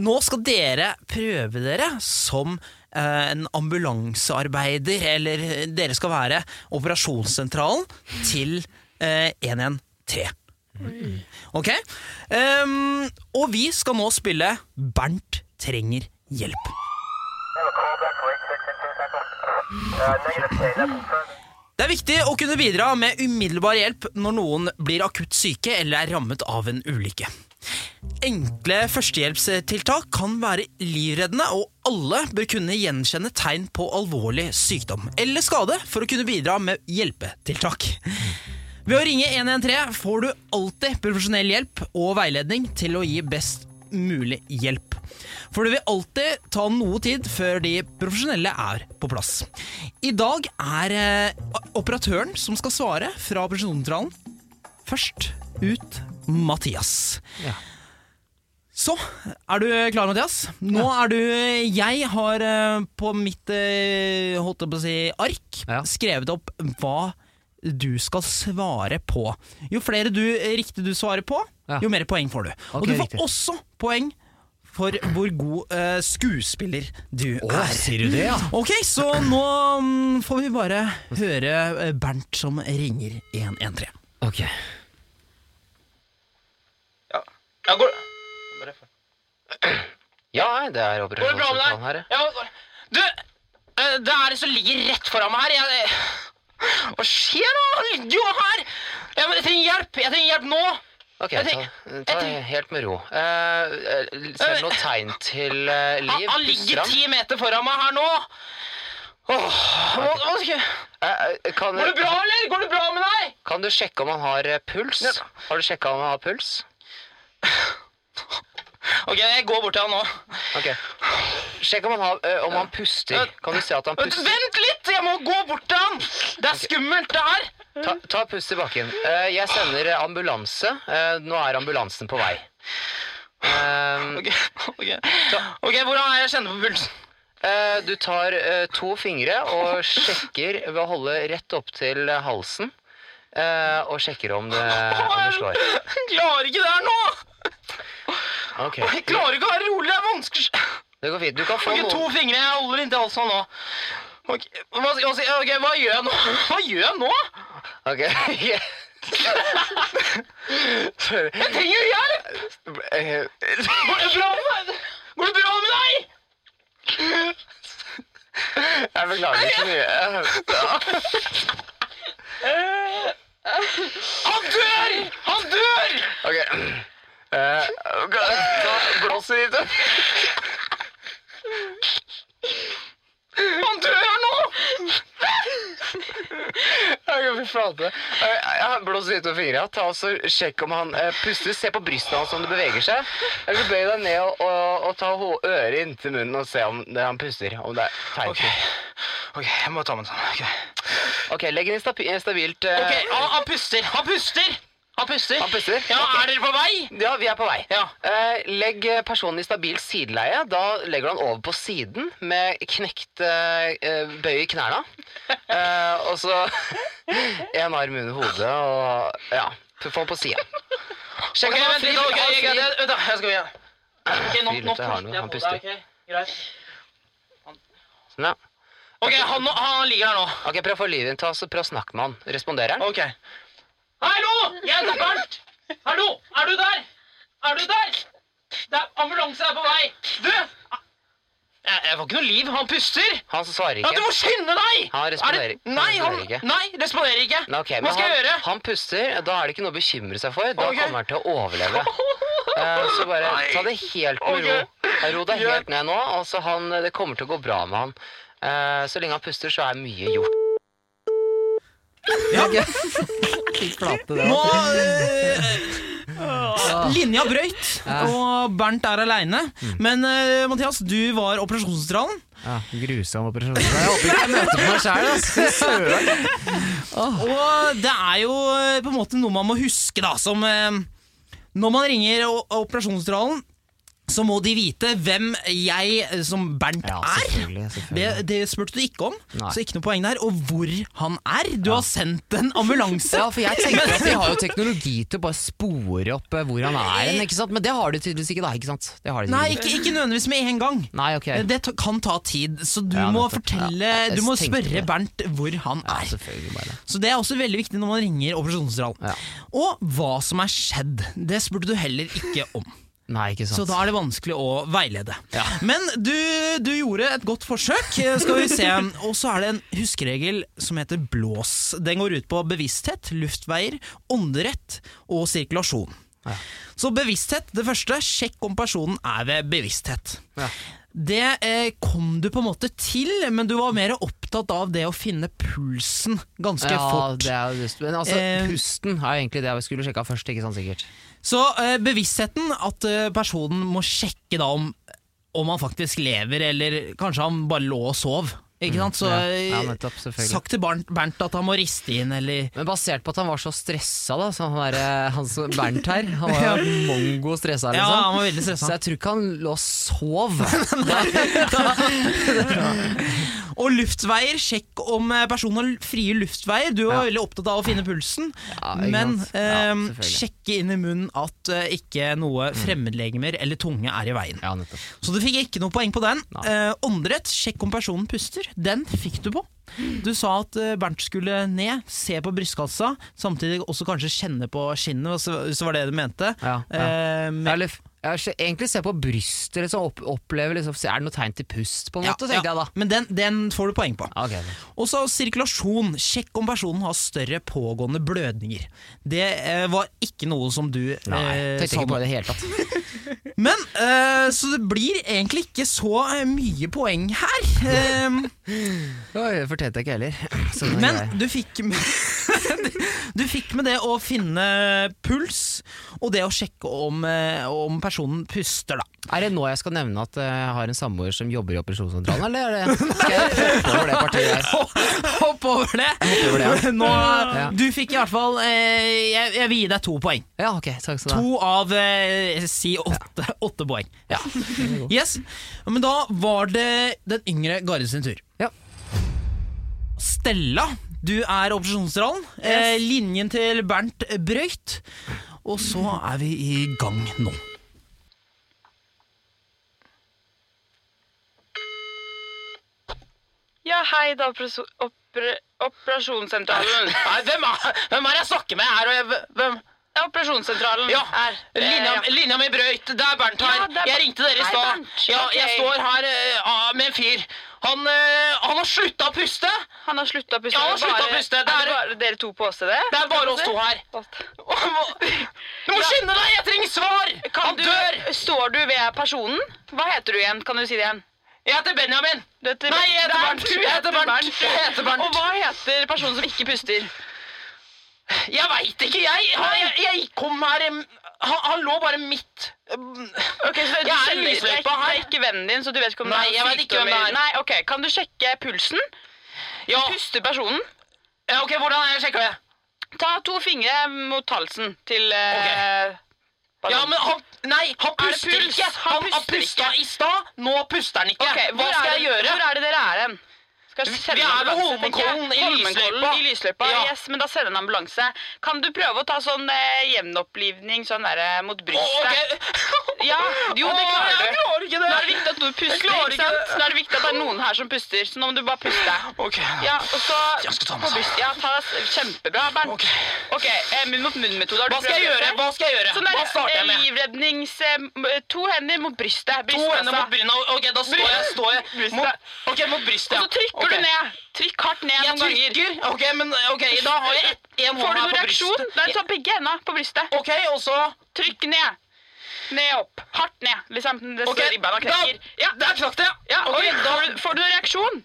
Speaker 6: nå skal dere prøve dere som eh, en ambulansearbeider, eller dere skal være operasjonssentralen til eh, 113. Ok? Ehm, og vi skal nå spille Bernt trenger hjelp. Det er viktig å kunne bidra med umiddelbar hjelp når noen blir akutt syke eller er rammet av en ulykke. Enkle førstehjelpstiltak kan være livreddende, og alle bør kunne gjenkjenne tegn på alvorlig sykdom eller skade for å kunne bidra med hjelpetiltak. Ved å ringe 113 får du alltid profesjonell hjelp og veiledning til å gi best mulig hjelp. For det vil alltid ta noe tid før de profesjonelle er på plass. I dag er eh, operatøren som skal svare fra operasjonssentralen, først ut Mathias.
Speaker 5: Ja.
Speaker 6: Så er du klar, Mathias. Nå er du Jeg har eh, på mitt eh, holdt jeg på å si, ark
Speaker 5: Ja.
Speaker 6: skrevet opp hva du skal svare på. Jo flere du, eh, riktig du svarer på,
Speaker 5: Ja.
Speaker 6: jo mer poeng får du.
Speaker 5: Ok,
Speaker 6: Og du får
Speaker 5: riktig.
Speaker 6: også poeng for hvor god eh, skuespiller du
Speaker 5: Å,
Speaker 6: er.
Speaker 5: sier du det, ja?
Speaker 6: Ok, så nå mm, får vi bare høre eh, Bernt som ringer 113.
Speaker 5: Ok.
Speaker 9: Ja, går,
Speaker 5: Ja, nei, det er
Speaker 9: går det bra med deg?
Speaker 5: operasjonssentralen her. ja.
Speaker 9: Ja, går- du, eh, det er det som ligger rett foran meg her. Jeg, jeg- hva skjer nå? Du er her! Jeg, jeg trenger hjelp! Jeg trenger hjelp nå!
Speaker 5: Ok,
Speaker 9: Jeg
Speaker 5: ta,
Speaker 9: tenker-
Speaker 5: ta
Speaker 9: jeg tenker-
Speaker 5: helt med ro. Eh, eh, ser du noe tegn til eh,
Speaker 9: Han,
Speaker 5: liv?
Speaker 9: han
Speaker 5: Puster
Speaker 9: ligger ti meter foran meg her nå. Åh, hva, hva skal jeg...
Speaker 5: Eh, eh, kan,
Speaker 9: Går det bra, eller? Går det bra med deg?
Speaker 5: kan du sjekke om han har eh, puls?
Speaker 9: Ja.
Speaker 5: Har du sjekka om han har puls?
Speaker 9: Ok, jeg går bort til han nå.
Speaker 5: Ok. Sjekk om han, har, eh, om han puster. Kan du se at han
Speaker 9: Vent
Speaker 5: puster?
Speaker 9: vent litt! Jeg må gå bort til han! Det er skummelt, det her.
Speaker 5: Ta, ta et pust i bakken. Eh, jeg sender ambulanse. Eh, nå er ambulansen på vei. Eh,
Speaker 9: Ok, ok. Ok, hvordan er jeg kjenner på pulsen?
Speaker 5: eh, du tar eh, to fingre og sjekker ved å holde rett opp til eh, halsen. eh, og sjekker om det, om det slår.
Speaker 9: Jeg klarer ikke det her nå!
Speaker 5: Ok,
Speaker 9: Jeg klarer ikke å være rolig. Det er vanskelig.
Speaker 5: det går fint. Du kan få
Speaker 9: Ok, to
Speaker 5: noen
Speaker 9: fingre. Jeg holder inntil halsen nå. Ok, hva, hva, ok, hva gjør jeg nå? Hva gjør jeg nå?
Speaker 5: Ok, Sorry.
Speaker 9: Jeg trenger jo hjelp!
Speaker 5: Eh,
Speaker 9: Går det bra med deg? Går det bra med deg?
Speaker 5: Jeg beklager så mye.
Speaker 9: Han dør! Han dør!
Speaker 5: Ok. Eh, ta glasset ditt.
Speaker 9: Han dør nå!
Speaker 5: Jeg kan flate. Eh, jeg Blås litt over fingra. Ta og så Sjekk om han eh, puster. Se på brystet hans om det beveger seg. Eller bøy deg ned og, og, og ta ho- øret inntil munnen og se om det, han puster. Om det er tegn
Speaker 9: Ok,
Speaker 5: til
Speaker 9: ok, jeg må ta meg sammen. Ok,
Speaker 5: Ok, legg den i stabi stabilt eh,
Speaker 9: Ok, han, han puster. Han puster! Han puster.
Speaker 5: Han puster?
Speaker 9: Ja,
Speaker 5: Ok.
Speaker 9: er dere på vei?
Speaker 5: Ja, vi er på vei.
Speaker 9: Ja.
Speaker 5: Eh, legg eh, personen i stabilt sideleie. Da legger du han over på siden med knekt eh, eh, bøy i knærne. Eh, og så en arm under hodet og Ja. Få han på sida. Sjekk om
Speaker 9: Ok,
Speaker 5: han har
Speaker 9: vent
Speaker 5: fri-
Speaker 9: litt. Ok,
Speaker 5: har
Speaker 9: jeg,
Speaker 5: fri-
Speaker 9: jeg, vent da, jeg skal igjen. Ok,
Speaker 5: Fy
Speaker 9: nå, nå
Speaker 5: lukter, jeg har noe.
Speaker 9: puster jeg
Speaker 5: Han
Speaker 9: på
Speaker 5: puster.
Speaker 9: deg. Ok, greit.
Speaker 5: Sånn, ja.
Speaker 9: Ok, han, han ligger her nå.
Speaker 5: Ok, Prøv å få livet inn til oss, og prøv å snakke med han. Responderer han?
Speaker 9: Ok. Hallo! Jeg heter Bernt. Hallo, er du der? Er du der? Det er ambulanse er på vei. Du! Jeg, jeg får ikke noe liv. Han puster.
Speaker 5: Han svarer
Speaker 9: Ja, du må
Speaker 5: ikke.
Speaker 9: skynde deg!
Speaker 5: Han responderer-
Speaker 9: Er det- Nei,
Speaker 5: han
Speaker 9: han,
Speaker 5: responderer ikke.
Speaker 9: nei, responderer ikke.
Speaker 5: Nei, ok, men
Speaker 9: Hva skal
Speaker 5: han,
Speaker 9: jeg gjøre?
Speaker 5: Han puster. Da er det ikke noe å bekymre seg for. Da
Speaker 9: Ok.
Speaker 5: kommer han til å overleve. Eh, så bare ta det helt med ro. Ro deg helt ned nå. Altså han, det kommer til å gå bra med han. Eh, så lenge han puster, så er mye gjort.
Speaker 6: Nå eh, Linja brøyt, og Bernt er aleine.
Speaker 10: Mm.
Speaker 6: Men eh, Mathias, du var operasjonssentralen.
Speaker 10: Ja, grusom operasjon. Jeg håper ikke jeg møter på meg sjæl, altså.
Speaker 6: Og det er jo eh, på en måte noe man må huske, da, som eh, Når man ringer o- operasjonssentralen, så må de vite hvem jeg eh, som Bernt
Speaker 10: Ja,
Speaker 6: er.
Speaker 10: selvfølgelig.
Speaker 6: Det,
Speaker 10: selvfølgelig.
Speaker 6: det spurte du ikke om,
Speaker 10: Nei.
Speaker 6: så ikke noe poeng der. Og hvor han er. Du har sendt en ambulanse.
Speaker 10: Ja, for jeg tenker at De har jo teknologi til å bare spore opp eh, hvor han er, hen, ikke sant? men det har de tydeligvis ikke. da, ikke sant? Det har de
Speaker 6: Nei,
Speaker 10: tydeligvis
Speaker 6: ikke, ikke nødvendigvis med en gang.
Speaker 10: Nei, ok.
Speaker 6: Eh, Det ta- kan ta tid, så du
Speaker 10: Ja,
Speaker 6: må
Speaker 10: nettopp.
Speaker 6: fortelle
Speaker 10: Ja, jeg
Speaker 6: Du må
Speaker 10: tenkte på
Speaker 6: spørre
Speaker 10: det.
Speaker 6: Bernt hvor han
Speaker 10: Ja,
Speaker 6: er.
Speaker 10: selvfølgelig bare.
Speaker 6: Så det er også veldig viktig når man ringer operasjonssentralen.
Speaker 10: Ja.
Speaker 6: Og hva som er skjedd, det spurte du heller ikke om.
Speaker 10: Nei, ikke sant.
Speaker 6: Så da er det vanskelig å veilede. Men du, du gjorde et godt forsøk, skal vi se. Og så er det en huskeregel som heter blås. Den går ut på bevissthet, luftveier, ånderett og sirkulasjon. Så bevissthet, det første. Sjekk om personen er ved bevissthet. Det eh, kom du på en måte til, men du var mer opptatt av det å finne pulsen ganske
Speaker 10: ja,
Speaker 6: fort.
Speaker 10: Det er jo just, men altså,
Speaker 6: Eh,
Speaker 10: pusten er jo egentlig det vi skulle sjekka først, ikke sant sikkert.
Speaker 6: Så eh, bevisstheten at eh, personen må sjekke da om, om han faktisk lever, eller kanskje han bare lå og sov. Ikke sant? Så
Speaker 10: Mm, ja.
Speaker 6: eh,
Speaker 10: Ja, nettopp, selvfølgelig.
Speaker 6: sagt til Bernt, Bernt at han må riste inn, eller
Speaker 10: Men basert på at han var så stressa, da, så han, der, han som Bernt her, han var jo mongo stressa,
Speaker 6: Ja,
Speaker 10: liksom.
Speaker 6: han var veldig stressa.
Speaker 10: Så jeg tror ikke han lå og sov.
Speaker 6: Og luftveier, sjekk om eh, personen har frie luftveier. Du var
Speaker 10: Ja.
Speaker 6: veldig opptatt av å finne pulsen,
Speaker 10: Ja, ikke
Speaker 6: men
Speaker 10: sant. Ja,
Speaker 6: eh,
Speaker 10: selvfølgelig. Mm.
Speaker 6: sjekke inn i munnen at eh, ikke noe fremmedlegemer eller tunge er i veien.
Speaker 10: Ja, nettopp.
Speaker 6: Så du fikk ikke noe poeng på den.
Speaker 10: Nei.
Speaker 6: Eh, åndedrett, sjekk om personen puster. Den fikk du på. Du sa at eh, Bernt skulle ned, se på brystkassa, samtidig også kanskje kjenne på skinnet, og så, så var det det du mente.
Speaker 10: Ja, ja.
Speaker 6: Eh, men-
Speaker 10: Eller, jeg ser- egentlig se på brystet, liksom, opp, oppleve liksom, se- Er det noe tegn til pust, på en
Speaker 6: ja,
Speaker 10: måte, tenkte
Speaker 6: ja.
Speaker 10: jeg da.
Speaker 6: Men den, den får du poeng på.
Speaker 10: Ok,
Speaker 6: Og så sirkulasjon. Sjekk om personen har større pågående blødninger. Det eh, var ikke noe som du eh,
Speaker 10: Nei, tenkte
Speaker 6: sa
Speaker 10: ikke på
Speaker 6: noe.
Speaker 10: det i det hele tatt.
Speaker 6: Men, eh, så det blir egentlig ikke så eh, mye poeng her. Eh,
Speaker 10: Oi, det fortjente jeg ikke heller. Så det er
Speaker 6: Men
Speaker 10: greit.
Speaker 6: du fikk med, du fikk med det å finne puls, og det å sjekke om, eh, om personen puster, da.
Speaker 10: er det nå jeg skal nevne at eh, jeg har en samboer som jobber i operasjonssentralen, eller er det, skal jeg hoppe over det partiet der?
Speaker 6: Hopp over det!
Speaker 10: over det, ja.
Speaker 6: Nå,
Speaker 10: Ja.
Speaker 6: du fikk i hvert fall eh, jeg, jeg vil gi deg to poeng.
Speaker 10: Ja, ok, takk skal du ha.
Speaker 6: To av eh, si åtte, åtte poeng. Ja. Yes. Men da var det den yngre Garde sin tur.
Speaker 10: Ja.
Speaker 6: Stella, du er opposisjonsrollen. Eh, linjen til Bernt brøyt. Og så er vi i gang nå.
Speaker 8: Ja, hei, da, operasjonssentralen.
Speaker 9: Nei, hvem, er, hvem er det jeg snakker med her? Og jeg, hvem?
Speaker 8: Operasjonssentralen
Speaker 9: Ja, linja, linja mi brøyt. Det er Bernt
Speaker 8: Ja, det
Speaker 9: her.
Speaker 8: er Bernt.
Speaker 9: Jeg ringte dere i
Speaker 8: Hei,
Speaker 9: stad.
Speaker 8: Bernt.
Speaker 9: Ja, jeg
Speaker 8: Ok.
Speaker 9: står her eh, ah, med en fyr. Han, eh, han har slutta å puste.
Speaker 8: Han har slutta å puste.
Speaker 9: Ja, han har sluttet å puste. Det er-
Speaker 8: Eh, bare dere to på åstedet?
Speaker 9: Det er bare oss to her. Åh, må- Du må skynde deg! Jeg trenger svar! Han dør!
Speaker 8: Står du ved personen? Hva heter du igjen? Kan du si det igjen?
Speaker 9: Jeg heter Benjamin.
Speaker 8: Du heter
Speaker 9: Nei, jeg heter
Speaker 8: Nei,
Speaker 9: Bernt.
Speaker 8: du
Speaker 9: Jeg heter Bernt. Jeg heter
Speaker 8: Og
Speaker 9: Bernt.
Speaker 8: hva heter personen som ikke puster?
Speaker 9: Jeg veit ikke, jeg. Han, jeg. Jeg kom her em, han, han lå bare midt
Speaker 8: Ok, så
Speaker 9: Jeg er i
Speaker 8: kjenner- det
Speaker 9: lysløypa
Speaker 8: ikke-
Speaker 9: her.
Speaker 8: Det er ikke vennen din, så du vet ikke om
Speaker 9: Nei,
Speaker 8: det er
Speaker 9: jeg vet ikke hvem det
Speaker 8: sykdommer.
Speaker 9: er.
Speaker 8: Nei, ok, Kan du sjekke pulsen?
Speaker 9: Ja,
Speaker 8: Puster personen?
Speaker 9: ja, OK, hvordan er det? Sjekka det.
Speaker 8: Ta to fingre mot halsen til eh,
Speaker 9: Ja, men han Nei, han
Speaker 8: Er det
Speaker 9: puster
Speaker 8: puls?
Speaker 9: ikke.
Speaker 8: Han
Speaker 9: Han, han
Speaker 8: puster
Speaker 9: pusta
Speaker 8: ikke.
Speaker 9: i stad. Nå puster han ikke.
Speaker 8: Ok,
Speaker 9: Hva
Speaker 8: hvor er
Speaker 9: skal
Speaker 8: det-
Speaker 9: jeg gjøre?
Speaker 8: Hvor er det dere er hen? Skal jeg
Speaker 9: Vi-
Speaker 8: sende
Speaker 9: vi er ved
Speaker 8: ambulanse, tenker jeg?
Speaker 9: Holmenkollen i
Speaker 8: Holmenkollen
Speaker 9: lysløypa.
Speaker 8: I lysløypa.
Speaker 9: Ja.
Speaker 8: Yes, men da sender en ambulanse. Kan du prøve å ta sånn eh, gjenopplivning sånn der, eh, mot
Speaker 9: Å,
Speaker 8: brystet?
Speaker 9: ok.
Speaker 8: Ja, jo, det
Speaker 9: Å,
Speaker 8: klarer
Speaker 9: Jeg
Speaker 8: du.
Speaker 9: klarer ikke
Speaker 8: Nå
Speaker 9: det.
Speaker 8: er det viktig at du puster,
Speaker 9: Jeg
Speaker 8: ikke
Speaker 9: klarer ikke
Speaker 8: sant?
Speaker 9: det.
Speaker 8: Nå er det viktig at det er noen her som puster, så nå må du bare puste.
Speaker 9: Ok.
Speaker 8: Ja, og så
Speaker 9: Jeg skal ta meg
Speaker 8: på
Speaker 9: sammen.
Speaker 8: brystet. Ja, ta deg kjempebra, Bernt.
Speaker 9: Ok.
Speaker 8: Ok, eh, munn mot munn-metode. har du
Speaker 9: Hva skal
Speaker 8: prøvd
Speaker 9: jeg
Speaker 8: det
Speaker 9: gjøre?
Speaker 8: før?
Speaker 9: Hva skal jeg gjøre?
Speaker 8: Sånn
Speaker 9: Hva
Speaker 8: der,
Speaker 9: starter
Speaker 8: eh,
Speaker 9: jeg med?
Speaker 8: livrednings... eh, m- To hender mot brystet.
Speaker 9: To
Speaker 8: brystkassa.
Speaker 9: hender mot bryna. Ok, da står jeg, står jeg
Speaker 8: Brystet.
Speaker 9: mot, Ok, mot brystet.
Speaker 8: Og
Speaker 9: ja.
Speaker 8: så trykker
Speaker 9: Ok.
Speaker 8: du ned. Trykk hardt ned
Speaker 9: Jeg
Speaker 8: noen ganger.
Speaker 9: trykker. Ok, men ok, da har jeg ett- en hånd
Speaker 8: Får du
Speaker 9: her
Speaker 8: noen
Speaker 9: på
Speaker 8: reaksjon?
Speaker 9: brystet.
Speaker 8: Nei, ta begge hendene på brystet.
Speaker 9: Ok, og så
Speaker 8: sånn- Trykk ned. Ned opp. Hardt ned. Liksom det
Speaker 9: Ok,
Speaker 8: så ribbeina
Speaker 9: da-
Speaker 8: knekker. Ja,
Speaker 9: Der knakk det!
Speaker 8: ja
Speaker 9: ok,
Speaker 8: oi,
Speaker 9: da-
Speaker 8: får, du, får du noen reaksjon?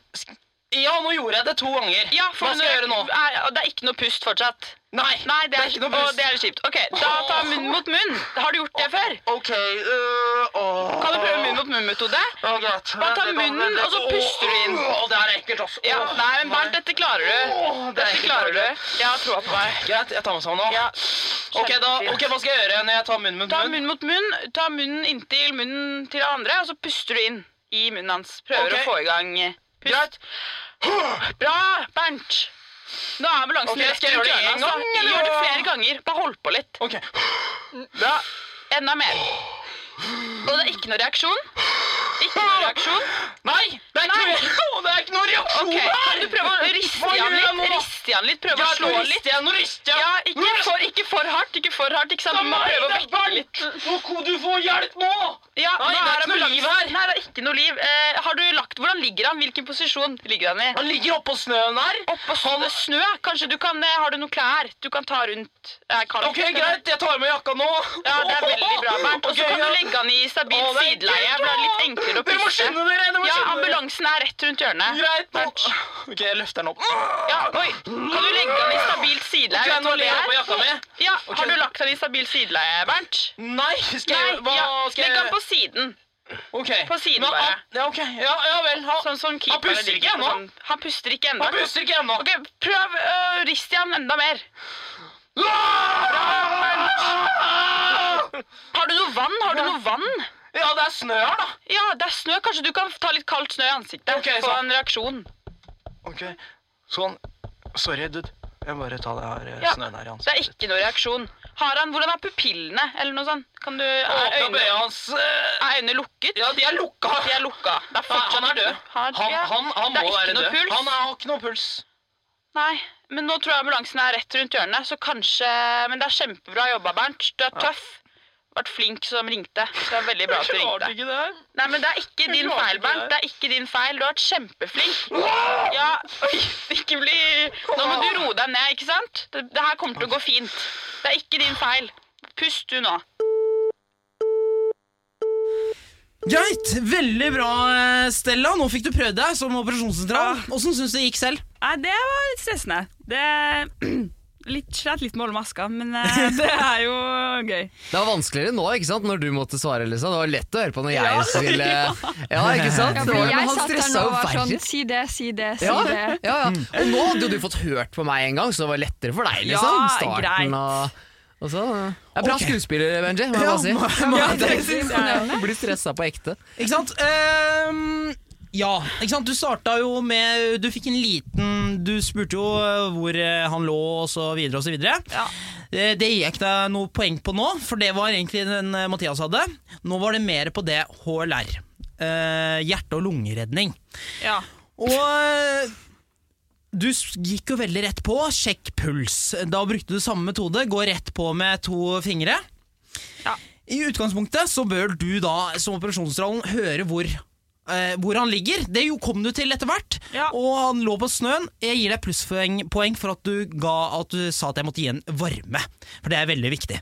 Speaker 9: Ja, nå gjorde jeg det to ganger.
Speaker 8: Ja, får
Speaker 9: Hva
Speaker 8: du
Speaker 9: skal jeg gjøre nå?
Speaker 8: Nei, og det er ikke noe pust fortsatt.
Speaker 9: Nei,
Speaker 8: Nei, det er,
Speaker 9: ikke noe pust.
Speaker 8: Og det er litt kjipt. Ok, da ta munn mot munn. Har du gjort det før?
Speaker 9: Ok, øh, åh.
Speaker 8: Kan du prøve munn mot munn-metode?
Speaker 9: Ja, greit.
Speaker 8: Bare ta munnen, og så puster du inn.
Speaker 9: Åh, det er ekkelt, ass.
Speaker 8: Ja,
Speaker 9: Åh,
Speaker 8: nei, men Bernt, dette klarer du.
Speaker 9: åh, det er
Speaker 8: Dette
Speaker 9: ekkelt,
Speaker 8: klarer du.
Speaker 9: det er ekkelt.
Speaker 8: Jeg har troa på deg.
Speaker 9: Greit, jeg tar meg sammen nå.
Speaker 8: Ja,
Speaker 9: ok, da,
Speaker 8: kjempefint.
Speaker 9: ok, hva skal jeg gjøre når jeg tar munnen mot
Speaker 8: Ta
Speaker 9: munnen?
Speaker 8: munn mot munn, ta munnen inntil munnen til den andre, og så puster du inn i munnen hans. Prøver
Speaker 9: Ok.
Speaker 8: å få i gang eh, pust. Bra, Bernt! Nå er ambulansen
Speaker 9: Ok,
Speaker 8: rett
Speaker 9: skal jeg
Speaker 8: rundt
Speaker 9: gjøre det
Speaker 8: hjørnet,
Speaker 9: en
Speaker 8: altså.
Speaker 9: gang, eller
Speaker 8: Gjør det
Speaker 9: hva?
Speaker 8: flere ganger. Bare hold på litt.
Speaker 9: Ok.
Speaker 8: Bra. Enda mer. Og det er ikke noe reaksjon. Ikke noe reaksjon.
Speaker 9: Nei, det er ikke,
Speaker 8: Nei.
Speaker 9: noe- det er ikke noe reaksjon
Speaker 8: Ok,
Speaker 9: her!
Speaker 8: Kan du prøve å
Speaker 9: Hva
Speaker 8: riste i
Speaker 9: gjør
Speaker 8: han
Speaker 9: jeg
Speaker 8: litt?
Speaker 9: nå, da?
Speaker 8: Riste i han litt, prøve
Speaker 9: Ja,
Speaker 8: å slå
Speaker 9: nå
Speaker 8: litt.
Speaker 9: rister jeg, nå rister jeg.
Speaker 8: Ja, ikke
Speaker 9: Nå rister
Speaker 8: for, ikke for hardt, ikke for hardt, ikke sant?
Speaker 9: jeg
Speaker 8: Du må
Speaker 9: meg,
Speaker 8: prøve å
Speaker 9: det er
Speaker 8: vekke litt.
Speaker 9: Bernt. Nå kan du få hjelp nå!
Speaker 8: Ja, nå
Speaker 9: Nei, det er
Speaker 8: er
Speaker 9: ikke noe
Speaker 8: ambulansen-
Speaker 9: liv her.
Speaker 8: Nei, det er ikke noe liv. Eh, har du lagt, hvordan ligger han? Hvilken posisjon ligger han i?
Speaker 9: Han ligger oppå snøen her.
Speaker 8: Oppå snø, snø? Kanskje du kan, eh, har du noen klær du kan ta rundt? Eh, kaldt.
Speaker 9: Ok, greit, jeg tar med jakka nå.
Speaker 8: Ja, det er veldig bra, Bernt. Og så
Speaker 9: Ok,
Speaker 8: kan du
Speaker 9: greit.
Speaker 8: legge han i stabilt
Speaker 9: Å, det er
Speaker 8: sideleie, for det er litt enklere å
Speaker 9: Dere må
Speaker 8: puste.
Speaker 9: skynde dere! dere må
Speaker 8: Ja,
Speaker 9: skynde dere.
Speaker 8: ambulansen er rett rundt hjørnet.
Speaker 9: Greit, nå.
Speaker 8: Bernt.
Speaker 9: Ok, jeg løfter den opp.
Speaker 8: Ja, oi. Kan du legge han i stabilt sideleie?
Speaker 9: Ok,
Speaker 8: Vet du
Speaker 9: nå
Speaker 8: hva det
Speaker 9: legger jeg på
Speaker 8: er?
Speaker 9: jakka mi.
Speaker 8: Ja,
Speaker 9: Ok.
Speaker 8: har du lagt han i stabilt sideleie, Bernt?
Speaker 9: Nei, skal jeg Hva
Speaker 8: ja.
Speaker 9: skal jeg
Speaker 8: Legg han på siden.
Speaker 9: Ok.
Speaker 8: på siden
Speaker 9: Men han-
Speaker 8: bare.
Speaker 9: Ja, ok. Ja, ja vel. Han,
Speaker 8: Sånn som keeperne
Speaker 9: puster ikke
Speaker 8: ligger på
Speaker 9: ennå.
Speaker 8: sånn- Han puster ikke ennå.
Speaker 9: han puster ikke ennå.
Speaker 8: Ok, prøv uh, rist i han enda mer. Har du noe vann? Har du noe vann?
Speaker 9: Ja, det er snø her, da.
Speaker 8: Ja, det er snø. Kanskje du kan ta litt kaldt snø i ansiktet?
Speaker 9: Ok, sånn.
Speaker 8: Få
Speaker 9: så-
Speaker 8: en reaksjon.
Speaker 9: Ok, sånn. Sorry, dude. Jeg må bare ta det her
Speaker 8: Ja,
Speaker 9: snøen her i
Speaker 8: Det er ikke noe reaksjon. Har han, Hvordan er pupillene? Eller noe sånt? Kan du, er,
Speaker 9: Åpne
Speaker 8: øynene,
Speaker 9: øya hans eh,
Speaker 8: er øynene lukket?
Speaker 9: Ja, de er lukka.
Speaker 8: De er lukka. Det er fortsatt
Speaker 9: han er død.
Speaker 8: Han,
Speaker 9: Han,
Speaker 8: ja.
Speaker 9: han, han
Speaker 8: Det er
Speaker 9: må
Speaker 8: ikke
Speaker 9: være
Speaker 8: noe
Speaker 9: død.
Speaker 8: puls.
Speaker 9: Han har ikke noe puls.
Speaker 8: Nei, men nå tror jeg ambulansen er rett rundt hjørnet, så kanskje Men det er kjempebra jobba, Bernt. Du er tøff. Vært flink som ringte. Så det er veldig bra at du ringte.
Speaker 9: ikke det her.
Speaker 8: Nei, men det er ikke din
Speaker 9: klarte
Speaker 8: feil,
Speaker 9: ikke
Speaker 8: Bernt.
Speaker 9: det.
Speaker 8: Det er ikke din feil. Du har vært kjempeflink. Ja, oi, ikke bli Nå må du roe deg ned, ikke sant? Det, det her kommer til å gå fint. Det er ikke din feil. Pust du nå.
Speaker 6: Greit, veldig bra, eh, Stella. Nå fikk du prøvd deg som operasjonssentral. Åssen syns du det gikk selv?
Speaker 11: Nei, det var litt stressende. Det litt, Slet litt med å holde maska, men eh, det er jo gøy.
Speaker 10: Det var vanskeligere nå, ikke sant, når du måtte svare, Lisa. Det var lett å høre på når jeg skulle Ja, ikke sant? Det
Speaker 7: Ja,
Speaker 10: var-
Speaker 7: fordi
Speaker 10: men
Speaker 7: jeg
Speaker 10: han
Speaker 7: satt der
Speaker 10: stressa
Speaker 7: nå
Speaker 10: jo
Speaker 7: og var sånn
Speaker 10: verre.
Speaker 7: Si det, si det, si
Speaker 10: Ja,
Speaker 7: det.
Speaker 10: ja, ja. Og nå hadde jo du fått hørt på meg en gang, så det var lettere for deg, liksom.
Speaker 11: Ja,
Speaker 10: Starten
Speaker 11: greit.
Speaker 10: og, og så Det er bra
Speaker 6: Ok.
Speaker 10: skuespiller, Benji, må jeg bare si.
Speaker 6: nå- nå-
Speaker 10: Ja, det synes jeg. Blir stressa på ekte.
Speaker 6: Ikke sant? Ehm, Ja, ikke sant? Du starta jo med Du fikk en liten Du spurte jo eh, hvor eh, han lå, og så videre og så videre.
Speaker 11: Ja.
Speaker 6: Eh, Det gir jeg ikke deg noe poeng på nå, for det var egentlig den eh, Mathias hadde. Nå var det mer på det HLR. eh, hjerte- og lungeredning.
Speaker 11: Ja.
Speaker 6: Og eh, du s- gikk jo veldig rett på. Sjekk puls. Da brukte du samme metode. Gå rett på med to fingre.
Speaker 11: Ja.
Speaker 6: I utgangspunktet så bør du da som operasjonsrollen høre hvor, eh, hvor han ligger. Det jo kom du til etter hvert.
Speaker 11: Ja.
Speaker 6: Og han lå på snøen. Jeg gir deg plusspoeng poeng for at du, ga, at du sa at jeg måtte gi en varme. For det er veldig viktig.